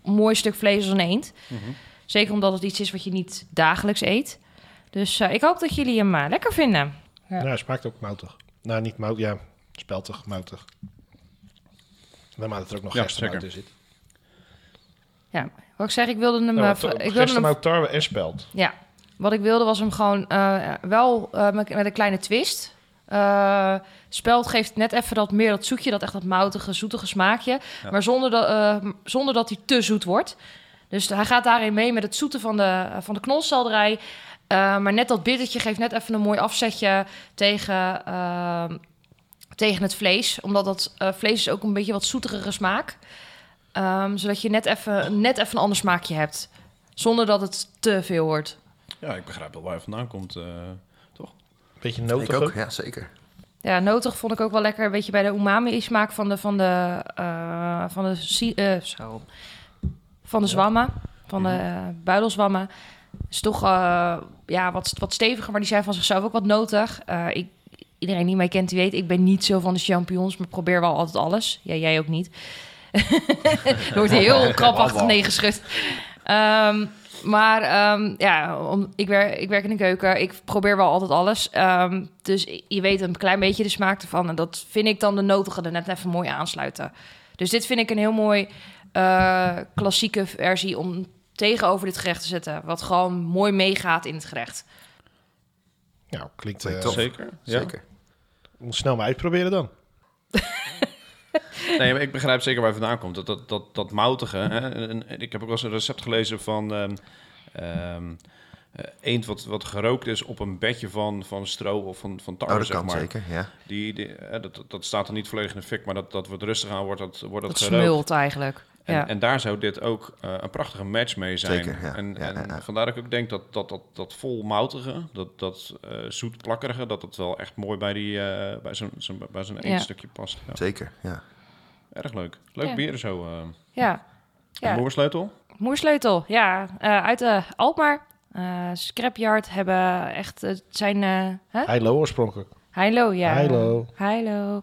[SPEAKER 3] mooi stuk vlees als een eend.
[SPEAKER 1] Mhm.
[SPEAKER 3] Zeker omdat het iets is wat je niet dagelijks eet. Dus eh, ik hoop dat jullie hem eh, lekker vinden.
[SPEAKER 1] Ja, hij smaakt ook moutig. Nou, niet mout, ja, speltig, moutig. Naarmate het er ook nog
[SPEAKER 2] Ja,
[SPEAKER 1] gerstemout in
[SPEAKER 2] zeker.
[SPEAKER 1] zit.
[SPEAKER 3] Wat ik zeg, ik wilde hem,
[SPEAKER 1] Nou,
[SPEAKER 3] eh,
[SPEAKER 1] want,
[SPEAKER 3] vra-
[SPEAKER 1] eh,
[SPEAKER 3] ik wilde hem
[SPEAKER 1] gerstemout, tarwe en spelt.
[SPEAKER 3] Ja, wat ik wilde was hem gewoon eh, wel eh, met, met een kleine twist. Eh, spelt geeft net even dat meer dat zoetje, dat echt dat moutige, zoetige smaakje.
[SPEAKER 2] Ja.
[SPEAKER 3] Maar zonder, dat eh, zonder dat hij te zoet wordt. Dus hij gaat daarin mee met het zoete van de, van de knolselderij. Eh, maar net dat bittertje geeft net even een mooi afzetje tegen, eh, tegen het vlees. Omdat dat eh, vlees is ook een beetje wat zoeterere smaak. Ehm, zodat je net even, net even een ander smaakje hebt. Zonder dat het te veel wordt.
[SPEAKER 2] Ja, ik begrijp wel waar hij vandaan komt. eh.
[SPEAKER 1] Beetje
[SPEAKER 4] Ik
[SPEAKER 1] notig
[SPEAKER 4] ook,
[SPEAKER 1] ook.
[SPEAKER 4] ja, zeker.
[SPEAKER 3] Ja, notig vond ik ook wel lekker. Een beetje bij de umami-smaak van de... Van de, eh, van de, si- eh, zo. Van de zwammen. Van de eh, buidelzwammen. Is toch eh, ja, wat, wat steviger, maar die zijn van zichzelf ook wat notig. Eh, ik, iedereen die mij kent, die weet... ik ben niet zo van de champignons, maar probeer wel altijd alles. Ja, jij ook niet. *laughs* Er wordt
[SPEAKER 2] *laughs*
[SPEAKER 3] heel krampachtig nee geschud. Ehm, maar ehm, ja, om, ik, wer, ik werk in de keuken. Ik probeer wel altijd alles. Ehm, dus je weet een klein beetje de smaak ervan. En dat vind ik dan de nodige er net even mooi aansluiten. Dus dit vind ik een heel mooi eh, klassieke versie om tegenover dit gerecht te zetten. Wat gewoon mooi meegaat in het gerecht.
[SPEAKER 1] Nou, klinkt...
[SPEAKER 4] Klinkt
[SPEAKER 1] eh,
[SPEAKER 4] tof.
[SPEAKER 2] Zeker. Ja. Oh,
[SPEAKER 4] Zeker.
[SPEAKER 1] ik moet snel maar uitproberen dan.
[SPEAKER 2] Nee, maar ik begrijp zeker waar hij vandaan komt. Dat, dat, dat, dat moutige. Hè? En- en ik heb ook wel eens een recept gelezen van ehm, ehm, eh, eend wat, wat gerookt is op een bedje van, van stro of van, van tarwe,
[SPEAKER 4] Oh, dat
[SPEAKER 2] zeg
[SPEAKER 4] kan
[SPEAKER 2] maar.
[SPEAKER 4] zeker, ja.
[SPEAKER 2] Die, die, hè, dat, dat- dat staat dan niet volledig in de fik, maar dat, dat wordt rustig aan, wordt dat, wordt
[SPEAKER 3] Dat
[SPEAKER 2] dat, gerookt.
[SPEAKER 3] smult eigenlijk.
[SPEAKER 2] En,
[SPEAKER 3] ja.
[SPEAKER 2] en daar zou dit ook eh, een prachtige match mee zijn.
[SPEAKER 4] Zeker, ja.
[SPEAKER 2] En,
[SPEAKER 4] Ja,
[SPEAKER 2] en
[SPEAKER 4] ja, ja.
[SPEAKER 2] vandaar dat ik ook denk dat dat, dat, dat vol moutige, dat, dat eh zoet plakkerige, dat dat wel echt mooi bij, die, eh, bij zo'n zo'n- bij zo'n één
[SPEAKER 3] Ja.
[SPEAKER 2] stukje past. Ja.
[SPEAKER 4] Zeker, ja.
[SPEAKER 2] Erg leuk. Leuk
[SPEAKER 3] Ja.
[SPEAKER 2] bier zo. eh.
[SPEAKER 3] ja.
[SPEAKER 2] Een
[SPEAKER 3] ja.
[SPEAKER 2] boorsleutel?
[SPEAKER 3] Moersleutel, ja. eh, uit eh, Alkmaar. Eh Scrapyard hebben echt... eh, Het zijn... eh, hè?
[SPEAKER 1] Heilo oorspronkelijk.
[SPEAKER 3] Heilo, ja.
[SPEAKER 1] Heilo.
[SPEAKER 3] Heilo.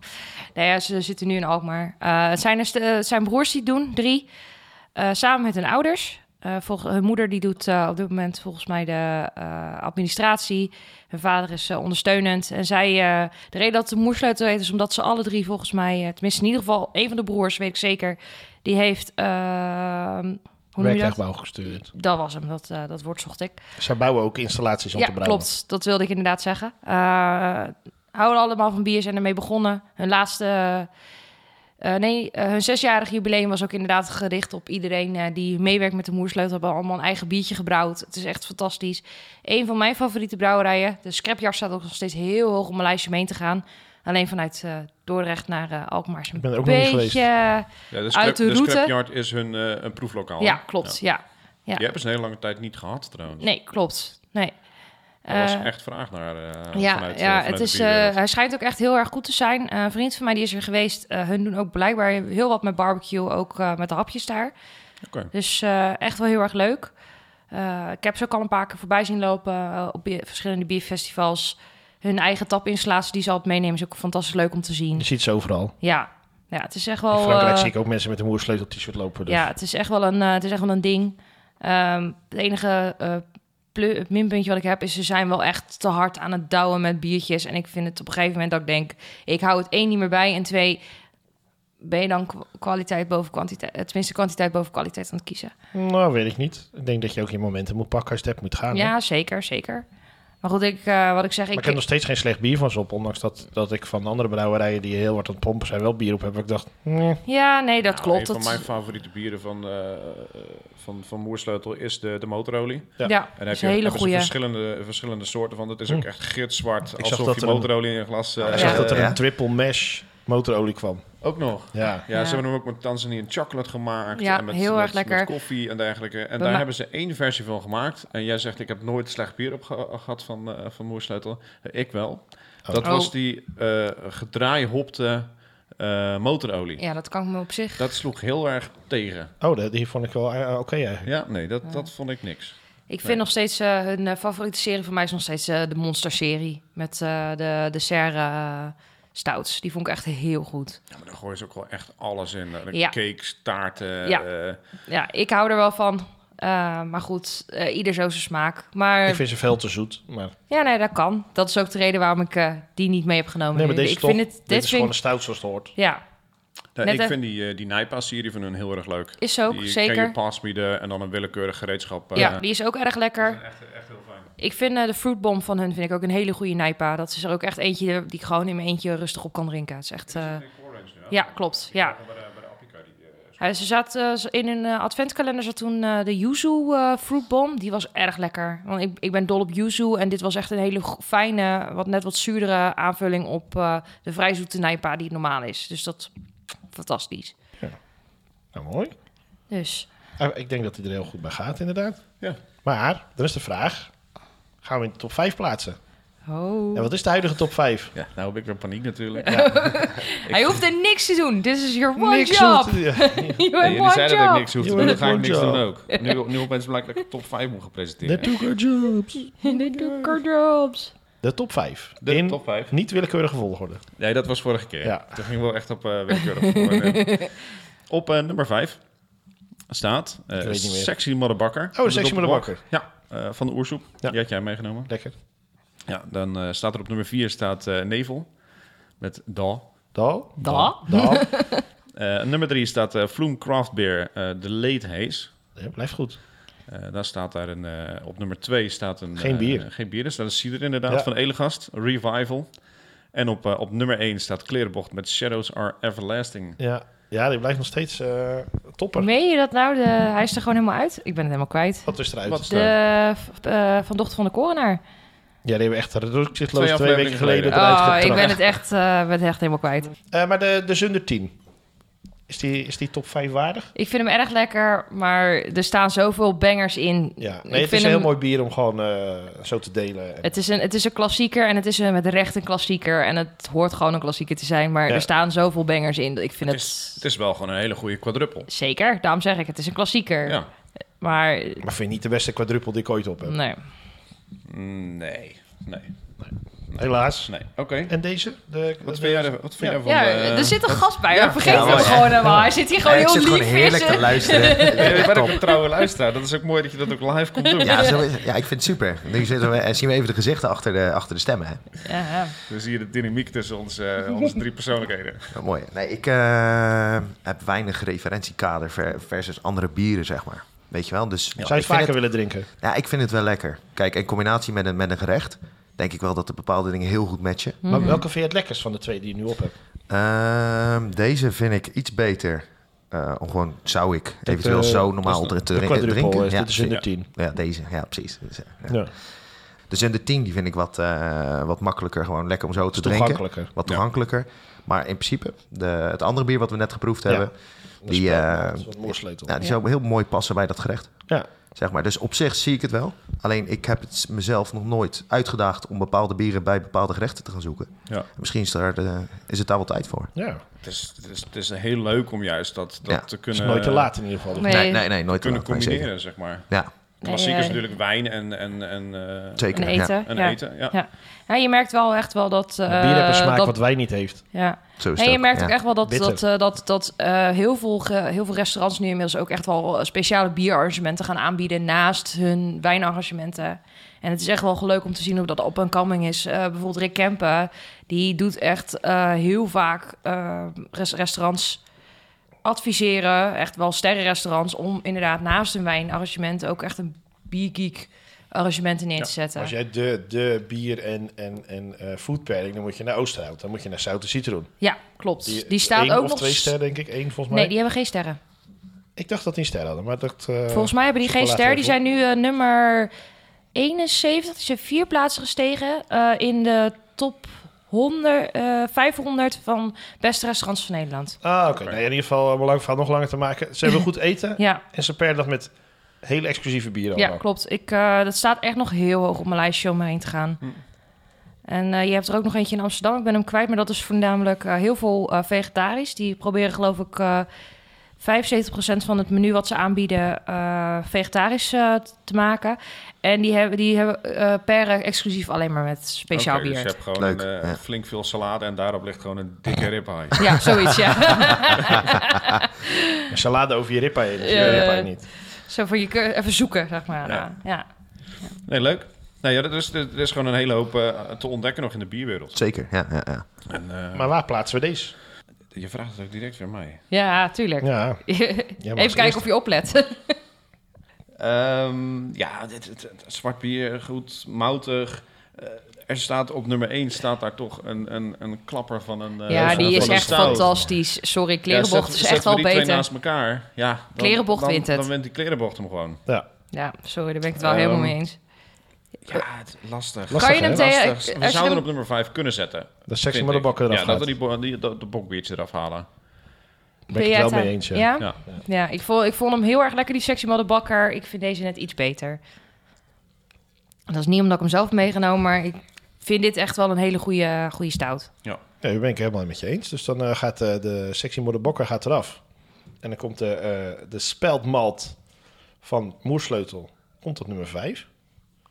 [SPEAKER 3] Nou ja, ze zitten nu in Alkmaar. Eh, het, zijn er st- eh, het zijn broers die het doen, drie. Eh, samen met hun ouders. Eh volg- hun moeder die doet eh, op dit moment volgens mij de eh, administratie. Hun vader is eh, ondersteunend. En zij, eh, de reden dat de moersleutel heet is omdat ze alle drie volgens mij... eh, tenminste in ieder geval een van de broers, weet ik zeker... die heeft... eh, hoe noem je dat?
[SPEAKER 1] Werktuigbouw gestuurd.
[SPEAKER 3] Dat was hem, dat, eh, dat woord zocht ik.
[SPEAKER 1] Zij bouwen ook installaties om
[SPEAKER 3] Ja,
[SPEAKER 1] te brouwen.
[SPEAKER 3] klopt. Dat wilde ik inderdaad zeggen. Eh houden allemaal van bier, zijn ermee begonnen. Hun laatste Eh, nee, eh, hun zesjarig jubileum was ook inderdaad gericht op iedereen eh, die meewerkt met de Moersleutel. Hebben allemaal een eigen biertje gebrouwd. Het is echt fantastisch. Een van mijn favoriete brouwerijen. De Scrapyard staat ook nog steeds heel hoog op mijn lijstje om heen te gaan. Alleen vanuit eh, Dordrecht naar eh, Alkmaar is een
[SPEAKER 1] Ik ben er ook nog niet
[SPEAKER 3] beetje...
[SPEAKER 1] geweest.
[SPEAKER 2] Ja, de,
[SPEAKER 3] Uit de
[SPEAKER 2] de
[SPEAKER 3] route.
[SPEAKER 2] scrapyard is hun eh, een proeflokaal. hè?
[SPEAKER 3] Ja, klopt. Ja.
[SPEAKER 2] Ja.
[SPEAKER 3] Ja.
[SPEAKER 2] Die hebben ze een hele lange tijd niet gehad trouwens.
[SPEAKER 3] Nee, klopt. Nee.
[SPEAKER 2] Er was
[SPEAKER 3] Eh,
[SPEAKER 2] echt vraag naar eh,
[SPEAKER 3] ja,
[SPEAKER 2] vanuit, eh,
[SPEAKER 3] ja
[SPEAKER 2] vanuit
[SPEAKER 3] het
[SPEAKER 2] de
[SPEAKER 3] is,
[SPEAKER 2] bierwereld.
[SPEAKER 3] eh, hij schijnt ook echt heel erg goed te zijn. Eh, een vriend van mij die is er geweest. eh, hun doen ook blijkbaar heel wat met barbecue, ook eh, met de hapjes daar.
[SPEAKER 2] Oké.
[SPEAKER 3] Dus eh, echt wel heel erg leuk. Eh, ik heb ze ook al een paar keer voorbij zien lopen eh, op bier- verschillende bierfestivals. Hun eigen tapinstallatie die ze altijd meenemen is ook fantastisch leuk om te zien.
[SPEAKER 1] Je ziet ze overal.
[SPEAKER 3] Ja, ja het is echt
[SPEAKER 1] In
[SPEAKER 3] wel...
[SPEAKER 1] Frankrijk
[SPEAKER 3] eh,
[SPEAKER 1] zie ik ook mensen met een moersleutel-t-shirt lopen. Dus.
[SPEAKER 3] ja, het is echt wel een, eh, het is echt wel een ding. Ehm, het enige eh, plu- het minpuntje wat ik heb is ze zijn wel echt te hard aan het douwen met biertjes. En ik vind het op een gegeven moment dat ik denk, ik hou het één niet meer bij en twee, ben je dan kwa- kwaliteit boven kwantiteit, eh, tenminste kwantiteit boven kwaliteit aan het kiezen.
[SPEAKER 1] Nou, weet ik niet. Ik denk dat je ook je momenten moet pakken als je het hebt moet gaan. hè?
[SPEAKER 3] Ja, zeker, zeker. Maar goed, ik, eh, wat ik zeg,
[SPEAKER 1] Ah, Maar ik
[SPEAKER 3] ik,
[SPEAKER 1] heb nog steeds geen slecht bier van ze op. Ondanks dat, dat ik van andere brouwerijen die heel hard aan het pompen zijn wel bier op heb. waar Ik dacht, nee.
[SPEAKER 3] ja, nee, dat
[SPEAKER 2] Nou,
[SPEAKER 3] klopt.
[SPEAKER 2] Een van
[SPEAKER 3] dat,
[SPEAKER 2] mijn favoriete bieren van, eh, van, van Moersleutel is de, de motorolie.
[SPEAKER 1] ja,
[SPEAKER 2] En
[SPEAKER 3] ja,
[SPEAKER 2] daar
[SPEAKER 3] dat
[SPEAKER 2] heb
[SPEAKER 3] is
[SPEAKER 2] je
[SPEAKER 3] een hele
[SPEAKER 2] hebben ze
[SPEAKER 3] goede.
[SPEAKER 2] verschillende, verschillende soorten van. Het is ook echt gitzwart.
[SPEAKER 1] Hm. zag
[SPEAKER 2] Alsof
[SPEAKER 1] dat
[SPEAKER 2] je
[SPEAKER 1] er een-
[SPEAKER 2] motorolie in een glas... eh,
[SPEAKER 1] ik
[SPEAKER 4] Ja.
[SPEAKER 1] zag dat er
[SPEAKER 4] Ja.
[SPEAKER 1] een triple mesh motorolie kwam.
[SPEAKER 2] Ook nog.
[SPEAKER 1] Ja.
[SPEAKER 2] Ja,
[SPEAKER 3] Ja.
[SPEAKER 2] ze hebben hem ook met Tanzania en chocolate gemaakt.
[SPEAKER 3] Ja,
[SPEAKER 2] en met,
[SPEAKER 3] heel
[SPEAKER 2] met-
[SPEAKER 3] erg lekker.
[SPEAKER 2] met koffie en dergelijke. En
[SPEAKER 3] We
[SPEAKER 2] daar
[SPEAKER 3] ma-
[SPEAKER 2] hebben ze één versie van gemaakt. En jij zegt, ik heb nooit slecht bier op geha- gehad van, eh, van Moersleutel. Eh, ik wel.
[SPEAKER 1] Oh.
[SPEAKER 2] Dat
[SPEAKER 3] Oh.
[SPEAKER 2] was die eh gedraaihopte eh, motorolie.
[SPEAKER 3] Ja, dat kan ik me op zich.
[SPEAKER 2] Dat sloeg heel erg tegen.
[SPEAKER 1] Oh, dat- die vond ik wel eh, oké eigenlijk.
[SPEAKER 2] Ja, nee, dat, dat vond ik niks.
[SPEAKER 3] Ik vind
[SPEAKER 2] Nee.
[SPEAKER 3] nog steeds eh, hun eh, favoriete serie van mij is nog steeds eh, de Monster serie met eh, de de Serre stouts. Die vond ik echt heel goed.
[SPEAKER 2] Ja, maar daar gooien ze ook wel echt alles in. Eh,
[SPEAKER 3] Ja.
[SPEAKER 2] Cakes, taarten.
[SPEAKER 3] Ja.
[SPEAKER 2] eh,
[SPEAKER 3] Ja, ik hou er wel van. Eh, maar goed, eh, ieder zo zijn smaak. Maar Oh,
[SPEAKER 1] Ik vind ze veel te zoet. Maar,
[SPEAKER 3] ja, nee, dat kan. Dat is ook de reden waarom ik eh, die niet mee heb genomen.
[SPEAKER 1] nee, maar
[SPEAKER 3] nu.
[SPEAKER 1] deze
[SPEAKER 3] ik
[SPEAKER 1] toch,
[SPEAKER 3] vind het,
[SPEAKER 1] dit is gewoon
[SPEAKER 3] vind
[SPEAKER 1] een stout zoals het hoort.
[SPEAKER 3] ik- ja,
[SPEAKER 2] nou,
[SPEAKER 3] Net
[SPEAKER 2] ik
[SPEAKER 3] een-
[SPEAKER 2] vind die, eh, die Nijpa-serie van hun heel erg leuk.
[SPEAKER 3] is ook
[SPEAKER 2] die Can
[SPEAKER 3] zeker.
[SPEAKER 2] you pass me the- en dan een willekeurig gereedschap. eh,
[SPEAKER 3] Ja, die is ook erg lekker.
[SPEAKER 2] echt, echt heel fijn.
[SPEAKER 3] Ik vind eh, de fruitbom van hun vind ik ook een hele goede nijpa. Dat is er ook echt eentje die ik gewoon in mijn eentje rustig op kan drinken. Het is echt. eh, ja, klopt. Ja.
[SPEAKER 2] Oh,
[SPEAKER 3] Ja, ze zat eh, ze- in een eh, adventkalender zat toen eh, de yuzu eh, fruitbom. Die was erg lekker. Want ik, ik ben dol op yuzu en dit was echt een hele go- fijne, wat net wat zuurdere aanvulling op eh, de vrij zoete nijpa die het normaal is. Dus dat fantastisch.
[SPEAKER 1] Nou, mooi.
[SPEAKER 3] Dus
[SPEAKER 1] Ah, Ik denk dat hij er heel goed bij gaat, inderdaad.
[SPEAKER 2] Ja.
[SPEAKER 1] Maar, dan is de vraag. Gaan we in de top 5 plaatsen?
[SPEAKER 3] oh.
[SPEAKER 1] En wat is de huidige top 5?
[SPEAKER 2] Ja, nou heb ik weer paniek
[SPEAKER 3] *laughs*
[SPEAKER 2] natuurlijk.
[SPEAKER 3] hij hoeft er niets te doen. This is your one
[SPEAKER 1] Niks
[SPEAKER 3] job. *laughs*
[SPEAKER 1] hoeft- ja.
[SPEAKER 3] You
[SPEAKER 2] Ja,
[SPEAKER 3] have
[SPEAKER 2] jullie
[SPEAKER 3] one
[SPEAKER 2] zeiden dat ik
[SPEAKER 3] job.
[SPEAKER 2] niks hoef te
[SPEAKER 1] You
[SPEAKER 2] doen, dan
[SPEAKER 1] have
[SPEAKER 2] ga ik
[SPEAKER 1] one
[SPEAKER 2] niks
[SPEAKER 1] job.
[SPEAKER 2] doen ook. Nu, nu opeens blijkt dat ik de top 5 moet gaan
[SPEAKER 1] The
[SPEAKER 2] presenteren.
[SPEAKER 1] two good
[SPEAKER 3] *laughs*
[SPEAKER 1] jobs.
[SPEAKER 3] De doeker jobs.
[SPEAKER 1] De top 5.
[SPEAKER 2] De
[SPEAKER 1] in
[SPEAKER 2] top 5.
[SPEAKER 1] niet willekeurige volgorde. Oh,
[SPEAKER 2] Nee, dat was vorige keer.
[SPEAKER 1] Ja.
[SPEAKER 2] Toen ging wel echt op eh willekeurig voor.
[SPEAKER 3] *laughs*
[SPEAKER 2] eh. Op eh, nummer 5 staat eh,
[SPEAKER 1] Ik weet niet meer.
[SPEAKER 2] Sexy Mother Bakker.
[SPEAKER 1] Oh, Sexy Mother Bakker.
[SPEAKER 2] Ja, eh, van de oersoep.
[SPEAKER 1] Ja.
[SPEAKER 2] Die had jij meegenomen.
[SPEAKER 1] Lekker.
[SPEAKER 2] Ja, dan eh, staat er op nummer 4 staat eh, Nevel met Da.
[SPEAKER 1] Dal.
[SPEAKER 3] Da.
[SPEAKER 1] Dal.
[SPEAKER 3] *laughs*
[SPEAKER 2] Eh, nummer 3 staat eh Vloem Craft Beer, eh, de Late Haze.
[SPEAKER 1] Ja, blijft goed.
[SPEAKER 2] Eh, daar staat daar een, eh, op nummer 2 staat een...
[SPEAKER 1] Geen
[SPEAKER 2] eh,
[SPEAKER 1] bier.
[SPEAKER 2] geen bier, er staat een cider inderdaad
[SPEAKER 1] Ja.
[SPEAKER 2] van Elegast, Revival. En op, eh, op nummer 1 staat Klerenbocht met Shadows Are Everlasting.
[SPEAKER 1] Ja, ja die blijft nog steeds eh, topper.
[SPEAKER 3] Meen je dat nou? De, hij is er gewoon helemaal uit. Ik ben het helemaal kwijt.
[SPEAKER 1] Wat is eruit?
[SPEAKER 2] Wat is er?
[SPEAKER 3] De v- eh, van dochter van de korenaar.
[SPEAKER 1] Ja, die hebben echt
[SPEAKER 2] Twee
[SPEAKER 1] rukzichtloos twee,
[SPEAKER 2] afleveringen
[SPEAKER 1] weken geleden
[SPEAKER 2] geleden.
[SPEAKER 1] eruit
[SPEAKER 3] Oh,
[SPEAKER 1] getrapt.
[SPEAKER 3] ik ben het echt, eh, ben het echt helemaal kwijt.
[SPEAKER 1] Eh, maar de, de Zunder 10. Is die, is die top 5 waardig?
[SPEAKER 3] Ik vind hem erg lekker, maar er staan zoveel bangers in.
[SPEAKER 1] Ja,
[SPEAKER 3] Ik
[SPEAKER 1] nee, het
[SPEAKER 3] vind
[SPEAKER 1] is een
[SPEAKER 3] hem-
[SPEAKER 1] heel mooi bier om gewoon eh, zo te delen. En-
[SPEAKER 3] Het is, een, het is een klassieker en het is een, met recht een klassieker. En het hoort gewoon een klassieker te zijn, maar
[SPEAKER 1] Ja.
[SPEAKER 3] er staan zoveel bangers in. dat Ik vind
[SPEAKER 2] Het
[SPEAKER 3] het,
[SPEAKER 2] is, het is wel gewoon een hele goede quadruppel.
[SPEAKER 3] zeker, daarom zeg ik, het is een klassieker.
[SPEAKER 2] Ja.
[SPEAKER 3] Maar
[SPEAKER 1] Maar vind je niet de beste quadruple die ik ooit op heb?
[SPEAKER 3] nee,
[SPEAKER 2] Mm, Nee, nee,
[SPEAKER 1] Helaas.
[SPEAKER 2] nee. Oké.
[SPEAKER 1] En deze? De,
[SPEAKER 2] Wat
[SPEAKER 1] de-
[SPEAKER 2] vind jij, er- wat vind jij van...
[SPEAKER 3] ja,
[SPEAKER 2] eh,
[SPEAKER 3] er zit een gast bij,
[SPEAKER 2] ja.
[SPEAKER 3] hoor. vergeet
[SPEAKER 4] Ja,
[SPEAKER 3] hem
[SPEAKER 4] maar-
[SPEAKER 3] gewoon helemaal. Hij zit hier gewoon
[SPEAKER 4] Ja, ik
[SPEAKER 3] heel
[SPEAKER 4] zit
[SPEAKER 3] lief
[SPEAKER 4] gewoon heerlijk
[SPEAKER 3] in zijn-
[SPEAKER 4] te luisteren.
[SPEAKER 2] *laughs* Ja, je
[SPEAKER 4] Echt
[SPEAKER 2] bent ook
[SPEAKER 4] top.
[SPEAKER 2] een trouwe luisteraar. Dat is ook mooi dat je dat ook live
[SPEAKER 3] *laughs*
[SPEAKER 2] komt doen.
[SPEAKER 4] Ja, zo is het. ja, ik vind het super. Nu zitten we, en eh, zien we even de gezichten achter de, achter de stemmen. Hè.
[SPEAKER 3] Ja, ja.
[SPEAKER 2] Dan zie je de dynamiek tussen onze, eh, onze drie persoonlijkheden.
[SPEAKER 4] Ja, mooi. Nee, ik eh, heb weinig referentiekader ver- versus andere bieren, zeg maar. Weet je wel? Dus
[SPEAKER 1] Zou je
[SPEAKER 4] ik,
[SPEAKER 1] het vaker
[SPEAKER 4] vind het,
[SPEAKER 1] willen drinken?
[SPEAKER 4] ja, ik vind het wel lekker. Kijk, in combinatie met een, met een gerecht denk ik wel dat er bepaalde dingen heel goed matchen.
[SPEAKER 3] Mhm.
[SPEAKER 1] Maar welke vind je het lekkerst van de twee die je nu op hebt?
[SPEAKER 4] Ehm, deze vind ik iets beter. Eh, om gewoon zou ik eventueel
[SPEAKER 1] eh,
[SPEAKER 4] zo
[SPEAKER 1] dat
[SPEAKER 4] normaal
[SPEAKER 1] is
[SPEAKER 4] te,
[SPEAKER 1] de
[SPEAKER 4] te drinken-
[SPEAKER 1] quadruple
[SPEAKER 4] drinken.
[SPEAKER 1] is.
[SPEAKER 4] ja,
[SPEAKER 1] Dit is
[SPEAKER 4] precies.
[SPEAKER 1] under 10.
[SPEAKER 4] ja, deze. Ja, precies. Dus, eh, ja.
[SPEAKER 1] Ja. Het
[SPEAKER 4] Dus in de 10 die vind ik wat, eh, wat makkelijker. Gewoon lekker om zo te
[SPEAKER 1] is
[SPEAKER 4] drinken.
[SPEAKER 1] toegankelijker.
[SPEAKER 4] Wat
[SPEAKER 2] Ja.
[SPEAKER 4] toegankelijker. Maar in principe, de, het andere bier wat we net geproefd
[SPEAKER 1] Ja.
[SPEAKER 4] hebben... Die, eh,
[SPEAKER 1] Dat is wat moersleutel.
[SPEAKER 4] Ja, die
[SPEAKER 3] Ja.
[SPEAKER 4] zou heel mooi passen bij dat gerecht.
[SPEAKER 1] Ja.
[SPEAKER 4] Zeg maar. Dus op zich zie ik het wel. Alleen ik heb het mezelf nog nooit uitgedaagd om bepaalde bieren bij bepaalde gerechten te gaan zoeken.
[SPEAKER 2] Ja.
[SPEAKER 4] Misschien is, daar, eh, is het daar wel tijd voor.
[SPEAKER 1] Ja,
[SPEAKER 2] Het is, het, is, het is heel leuk om juist dat, dat
[SPEAKER 4] Ja.
[SPEAKER 2] te
[SPEAKER 1] het is
[SPEAKER 2] kunnen,
[SPEAKER 1] nooit te laat in ieder geval.
[SPEAKER 3] Nee.
[SPEAKER 4] Nee, nee, nee, nooit
[SPEAKER 2] te kunnen
[SPEAKER 4] te laat, nee, zeker.
[SPEAKER 2] combineren, zeg maar.
[SPEAKER 4] Ja,
[SPEAKER 2] Klassiek
[SPEAKER 3] Nee,
[SPEAKER 2] is
[SPEAKER 3] eh,
[SPEAKER 2] natuurlijk wijn en, en, en, eh,
[SPEAKER 4] zeker.
[SPEAKER 3] En
[SPEAKER 4] ja.
[SPEAKER 3] eten.
[SPEAKER 2] en
[SPEAKER 3] ja.
[SPEAKER 2] eten. Ja.
[SPEAKER 3] Ja. Ja, je merkt wel echt wel dat... eh,
[SPEAKER 1] bier heeft een smaak
[SPEAKER 3] dat-
[SPEAKER 1] wat wij niet heeft.
[SPEAKER 3] Ja.
[SPEAKER 4] Zo is
[SPEAKER 3] Nee,
[SPEAKER 4] het
[SPEAKER 3] je
[SPEAKER 4] ook,
[SPEAKER 3] merkt
[SPEAKER 4] ja.
[SPEAKER 3] ook echt wel dat,
[SPEAKER 1] Bitter.
[SPEAKER 3] dat, eh, dat, dat eh, heel, veel, ge- heel veel restaurants nu inmiddels ook echt wel eh, speciale bierarrangementen gaan aanbieden naast hun wijnarrangementen. En het is echt wel leuk om te zien hoe dat op en coming is. Eh, bijvoorbeeld Rick Kempen, die doet echt eh, heel vaak eh, res- restaurants adviseren, echt wel sterrenrestaurants, om inderdaad naast hun wijnarrangement ook echt een biergeek arrangement in neer te zetten.
[SPEAKER 1] Als jij de, de bier en, en, en eh foodpairing, dan moet je naar Oosterhout. Dan moet je naar Zoute Citroen.
[SPEAKER 3] Ja, klopt. Die, staat
[SPEAKER 1] één
[SPEAKER 3] ook
[SPEAKER 1] of
[SPEAKER 3] nog...
[SPEAKER 1] twee sterren, denk ik. Eén volgens mij.
[SPEAKER 3] nee, die hebben geen sterren.
[SPEAKER 1] Ik dacht dat die een ster hadden, maar dat... eh,
[SPEAKER 3] Volgens mij hebben die geen
[SPEAKER 1] chocolade
[SPEAKER 3] ster. Die zijn
[SPEAKER 1] level.
[SPEAKER 3] nu eh, nummer 71. Die zijn vier plaatsen gestegen eh, in de top 100, eh, 500 van beste restaurants van Nederland.
[SPEAKER 1] Ah, oké. Nou ja, in ieder geval, om een lang verhaal nog langer te maken. Ze hebben
[SPEAKER 3] *clears throat*
[SPEAKER 1] goed eten
[SPEAKER 3] Ja,
[SPEAKER 1] en ze per dag met hele exclusieve bieren
[SPEAKER 3] ja
[SPEAKER 1] allemaal.
[SPEAKER 3] klopt. Ik, eh, dat staat echt nog heel hoog op mijn lijstje om heen te gaan.
[SPEAKER 2] Hm.
[SPEAKER 3] En eh, je hebt er ook nog eentje in Amsterdam. Ik ben hem kwijt, maar dat is voornamelijk eh, heel veel eh, vegetarisch. Die proberen geloof ik eh 75% van het menu wat ze aanbieden eh, vegetarisch eh, te maken. En die hebben, die hebben eh, per eh, exclusief alleen maar met speciaal
[SPEAKER 2] Oké,
[SPEAKER 3] bier.
[SPEAKER 2] Dus je hebt gewoon
[SPEAKER 4] Leuk,
[SPEAKER 2] een, eh,
[SPEAKER 4] ja.
[SPEAKER 2] flink veel salade en daarop ligt gewoon
[SPEAKER 4] *laughs*
[SPEAKER 2] een dikke ribeye. *laughs*
[SPEAKER 3] Ja, zoiets, ja. *laughs*
[SPEAKER 1] Een salade over je ribba heen, dus je
[SPEAKER 3] Ja, ja, ja.
[SPEAKER 1] ribeye niet.
[SPEAKER 3] Zo voor je keur- even zoeken, zeg maar.
[SPEAKER 2] Ja.
[SPEAKER 3] Ja.
[SPEAKER 2] Nee, leuk. Nou ja, er is, er is gewoon een hele hoop eh, te ontdekken nog in de bierwereld.
[SPEAKER 4] Zeker, ja, ja, ja.
[SPEAKER 2] En, eh,
[SPEAKER 1] Maar waar plaatsen we deze?
[SPEAKER 2] je vraagt het ook direct weer mij.
[SPEAKER 3] Ja, tuurlijk. *laughs*
[SPEAKER 1] Ja,
[SPEAKER 3] Even kijken of je oplet.
[SPEAKER 2] Ehm, ja, dit, dit- dit- zwart bier, goed, moutig. Eh, er staat op nummer 1 staat daar toch een, een, een klapper van een... eh,
[SPEAKER 3] ja,
[SPEAKER 2] van-
[SPEAKER 3] die
[SPEAKER 2] van
[SPEAKER 3] is
[SPEAKER 2] een
[SPEAKER 3] echt
[SPEAKER 2] stout.
[SPEAKER 3] fantastisch. Sorry,
[SPEAKER 2] Ja,
[SPEAKER 3] klerenbocht
[SPEAKER 2] zet-
[SPEAKER 3] is
[SPEAKER 2] zetten
[SPEAKER 3] echt wel
[SPEAKER 2] we die twee
[SPEAKER 3] beter.
[SPEAKER 2] naast elkaar. Ja, dan,
[SPEAKER 3] Klerenbocht
[SPEAKER 2] dan-
[SPEAKER 3] wint het.
[SPEAKER 2] Dan wint die klerenbocht hem gewoon.
[SPEAKER 1] Ja.
[SPEAKER 3] Ja, sorry, daar ben ik het wel helemaal mee eens.
[SPEAKER 2] Ja, het, lastig.
[SPEAKER 1] Ehm, Lastig,
[SPEAKER 3] kan je hem
[SPEAKER 1] hè?
[SPEAKER 3] tegen...
[SPEAKER 2] Lastig.
[SPEAKER 3] als
[SPEAKER 2] We
[SPEAKER 3] je
[SPEAKER 2] zouden
[SPEAKER 3] hem-
[SPEAKER 2] hem op nummer 5 kunnen zetten.
[SPEAKER 1] Dat sexy
[SPEAKER 2] vind
[SPEAKER 1] maar de
[SPEAKER 2] ik.
[SPEAKER 1] bakken eraf
[SPEAKER 2] Ja, dat we die, bo- die, dat- de bokbiertje eraf halen.
[SPEAKER 1] Ben ik het
[SPEAKER 3] jij
[SPEAKER 1] wel
[SPEAKER 3] daar-
[SPEAKER 1] mee eens, ja.
[SPEAKER 3] Ja,
[SPEAKER 2] Ja.
[SPEAKER 3] Ja, ik, vond, ik vond hem heel erg lekker, die sexy modderbakker. Ik vind deze net iets beter. Dat is niet omdat ik hem zelf heb meegenomen, maar ik vind dit echt wel een hele goede, goede stout.
[SPEAKER 1] Ja, daar ben ik helemaal met je eens. Dus dan eh, gaat eh, de sexy modder bokker gaat eraf. En dan komt de, eh de speldmalt van Moersleutel komt op nummer 5.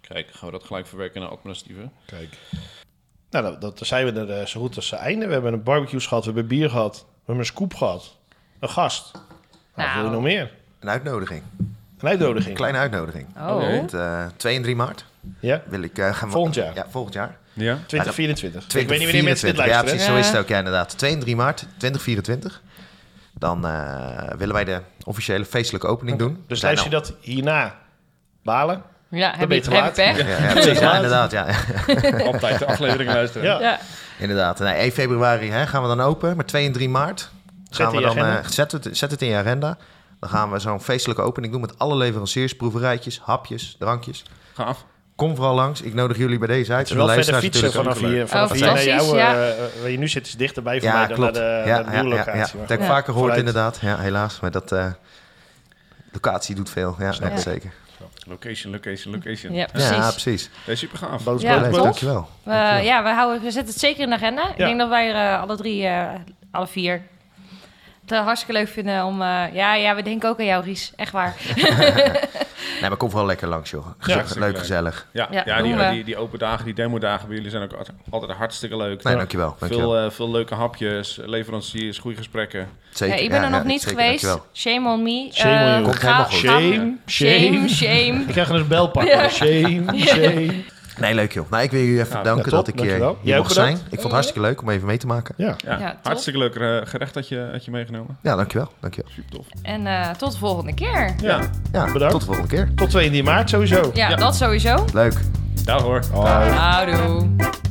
[SPEAKER 2] Kijk, gaan we dat gelijk verwerken naar administratieve.
[SPEAKER 1] Kijk. Nou, dat, dat dan zijn we er eh, zo goed als ze einde. We hebben een barbecue gehad, we hebben bier gehad, we hebben een scoop gehad, een gast. Nou, wat
[SPEAKER 3] Nou.
[SPEAKER 1] wil je nog meer?
[SPEAKER 4] Een uitnodiging.
[SPEAKER 1] Een uitnodiging.
[SPEAKER 4] Een kleine uitnodiging.
[SPEAKER 3] Oh,
[SPEAKER 2] Oké.
[SPEAKER 4] Want, eh, 2 en 3 maart
[SPEAKER 1] Ja,
[SPEAKER 4] wil ik eh, gaan...
[SPEAKER 1] Volgend jaar.
[SPEAKER 4] Ja, volgend jaar.
[SPEAKER 2] Ja?
[SPEAKER 1] 2024. ik weet niet wanneer mensen dit
[SPEAKER 4] 2024. Ja,
[SPEAKER 1] luisteren.
[SPEAKER 4] precies.
[SPEAKER 1] hè?
[SPEAKER 4] Zo
[SPEAKER 3] hè?
[SPEAKER 4] is het ook, ja, inderdaad. 2 en 3 maart 2024. Dan eh, willen wij de officiële feestelijke opening doen.
[SPEAKER 1] Dus
[SPEAKER 4] Zijn
[SPEAKER 1] luister je dat hierna balen?
[SPEAKER 3] Ja, heb
[SPEAKER 1] ben
[SPEAKER 3] je,
[SPEAKER 1] je te
[SPEAKER 3] heb je
[SPEAKER 1] laat.
[SPEAKER 3] pech?
[SPEAKER 4] al-
[SPEAKER 1] *laughs*
[SPEAKER 4] nou. Ja, ja, precies. Ja, inderdaad. Ja,
[SPEAKER 2] Altijd de aflevering luisteren.
[SPEAKER 1] Ja.
[SPEAKER 3] Ja.
[SPEAKER 4] inderdaad. Nee, 1 februari hè, gaan we dan open. Maar 2 en 3 maart gaan
[SPEAKER 1] in
[SPEAKER 4] we
[SPEAKER 1] je
[SPEAKER 4] dan...
[SPEAKER 1] agenda.
[SPEAKER 4] eh, zet, het, zet het in je agenda. Dan gaan we zo'n feestelijke opening doen met alle leveranciers, proeverijtjes, hapjes, drankjes.
[SPEAKER 2] Gaaf.
[SPEAKER 4] Kom vooral langs. Ik nodig jullie bij deze uit.
[SPEAKER 1] Het is wel
[SPEAKER 4] En de
[SPEAKER 1] verder
[SPEAKER 4] luisteraars
[SPEAKER 1] fietsen
[SPEAKER 4] natuurlijk
[SPEAKER 1] vanaf hier, vanaf
[SPEAKER 2] natuurlijk
[SPEAKER 3] Oh,
[SPEAKER 1] hier naar jou.
[SPEAKER 3] fantastisch, ja.
[SPEAKER 1] eh, eh, waar je nu zit is dichterbij
[SPEAKER 4] ook.
[SPEAKER 1] voor mij dan
[SPEAKER 4] klopt.
[SPEAKER 1] naar de,
[SPEAKER 4] ja,
[SPEAKER 1] naar de
[SPEAKER 4] ja, ja, ja.
[SPEAKER 1] boerlocatie.
[SPEAKER 4] Dat
[SPEAKER 1] Maar
[SPEAKER 4] heb ik
[SPEAKER 1] goed.
[SPEAKER 4] vaker gehoord
[SPEAKER 1] Vooruit.
[SPEAKER 4] inderdaad. Ja, helaas. Maar dat eh, locatie doet veel. Ja,
[SPEAKER 3] Snap
[SPEAKER 4] nee,
[SPEAKER 3] ik.
[SPEAKER 4] zeker.
[SPEAKER 2] Location, location, location.
[SPEAKER 3] Ja,
[SPEAKER 4] Ja,
[SPEAKER 3] precies.
[SPEAKER 4] precies.
[SPEAKER 2] Dat is super gaaf.
[SPEAKER 1] Boos,
[SPEAKER 3] Ja,
[SPEAKER 1] boos,
[SPEAKER 4] Leuk,
[SPEAKER 1] boos.
[SPEAKER 3] klopt.
[SPEAKER 4] dankjewel.
[SPEAKER 3] We, ja, we, houden, we zetten het zeker in de agenda. Ik
[SPEAKER 1] Ja.
[SPEAKER 3] denk dat wij er eh, alle drie, eh, alle vier, het eh, hartstikke leuk vinden om... eh, ja, ja, we denken ook aan jou, Ries. Echt waar.
[SPEAKER 4] Nee, maar kom vooral lekker langs, joh.
[SPEAKER 1] Ja,
[SPEAKER 4] Gezellig,
[SPEAKER 2] hartstikke
[SPEAKER 4] leuk,
[SPEAKER 2] leuk.
[SPEAKER 4] gezellig.
[SPEAKER 2] Ja, ja,
[SPEAKER 3] Ja,
[SPEAKER 2] die,
[SPEAKER 3] doen we.
[SPEAKER 2] die, die open dagen, die demo dagen bij jullie zijn ook altijd- altijd hartstikke leuk.
[SPEAKER 4] Nee,
[SPEAKER 2] Ja.
[SPEAKER 4] dankjewel. dankjewel.
[SPEAKER 2] Veel, eh, veel leuke hapjes, leveranciers, goede gesprekken.
[SPEAKER 4] Zeker.
[SPEAKER 3] Ja, ik ben
[SPEAKER 4] ja,
[SPEAKER 3] er nog
[SPEAKER 4] ja,
[SPEAKER 3] niet
[SPEAKER 4] zeker,
[SPEAKER 3] geweest.
[SPEAKER 4] dankjewel.
[SPEAKER 3] Shame on me.
[SPEAKER 1] Shame on
[SPEAKER 3] Eh,
[SPEAKER 1] you.
[SPEAKER 4] Komt helemaal goed.
[SPEAKER 3] ga-
[SPEAKER 1] Shame,
[SPEAKER 3] Shame,
[SPEAKER 1] shame.
[SPEAKER 3] shame.
[SPEAKER 1] Ik krijg een bel pakken. Shame, shame.
[SPEAKER 4] Nee, leuk joh. Nou, ik wil jullie even
[SPEAKER 2] Ja,
[SPEAKER 4] danken
[SPEAKER 1] ja,
[SPEAKER 4] dat
[SPEAKER 1] top,
[SPEAKER 4] ik eh,
[SPEAKER 1] dankjewel.
[SPEAKER 4] hier,
[SPEAKER 1] Jij
[SPEAKER 4] hier
[SPEAKER 1] ook
[SPEAKER 4] mocht zijn.
[SPEAKER 1] bedankt.
[SPEAKER 4] Ik vond het hartstikke leuk om even mee te maken.
[SPEAKER 1] Ja.
[SPEAKER 2] Ja,
[SPEAKER 3] Ja, top.
[SPEAKER 2] hartstikke leuk eh, gerecht dat je, dat je meegenomen.
[SPEAKER 4] Ja, dankjewel. dankjewel.
[SPEAKER 2] Super tof.
[SPEAKER 3] En eh, tot de volgende keer.
[SPEAKER 2] Ja,
[SPEAKER 4] Ja,
[SPEAKER 1] Bedankt.
[SPEAKER 4] tot de volgende keer.
[SPEAKER 1] Tot 22 maart sowieso.
[SPEAKER 3] Ja,
[SPEAKER 2] Ja.
[SPEAKER 3] dat sowieso.
[SPEAKER 4] Leuk.
[SPEAKER 2] daar hoor.
[SPEAKER 3] Houdoe.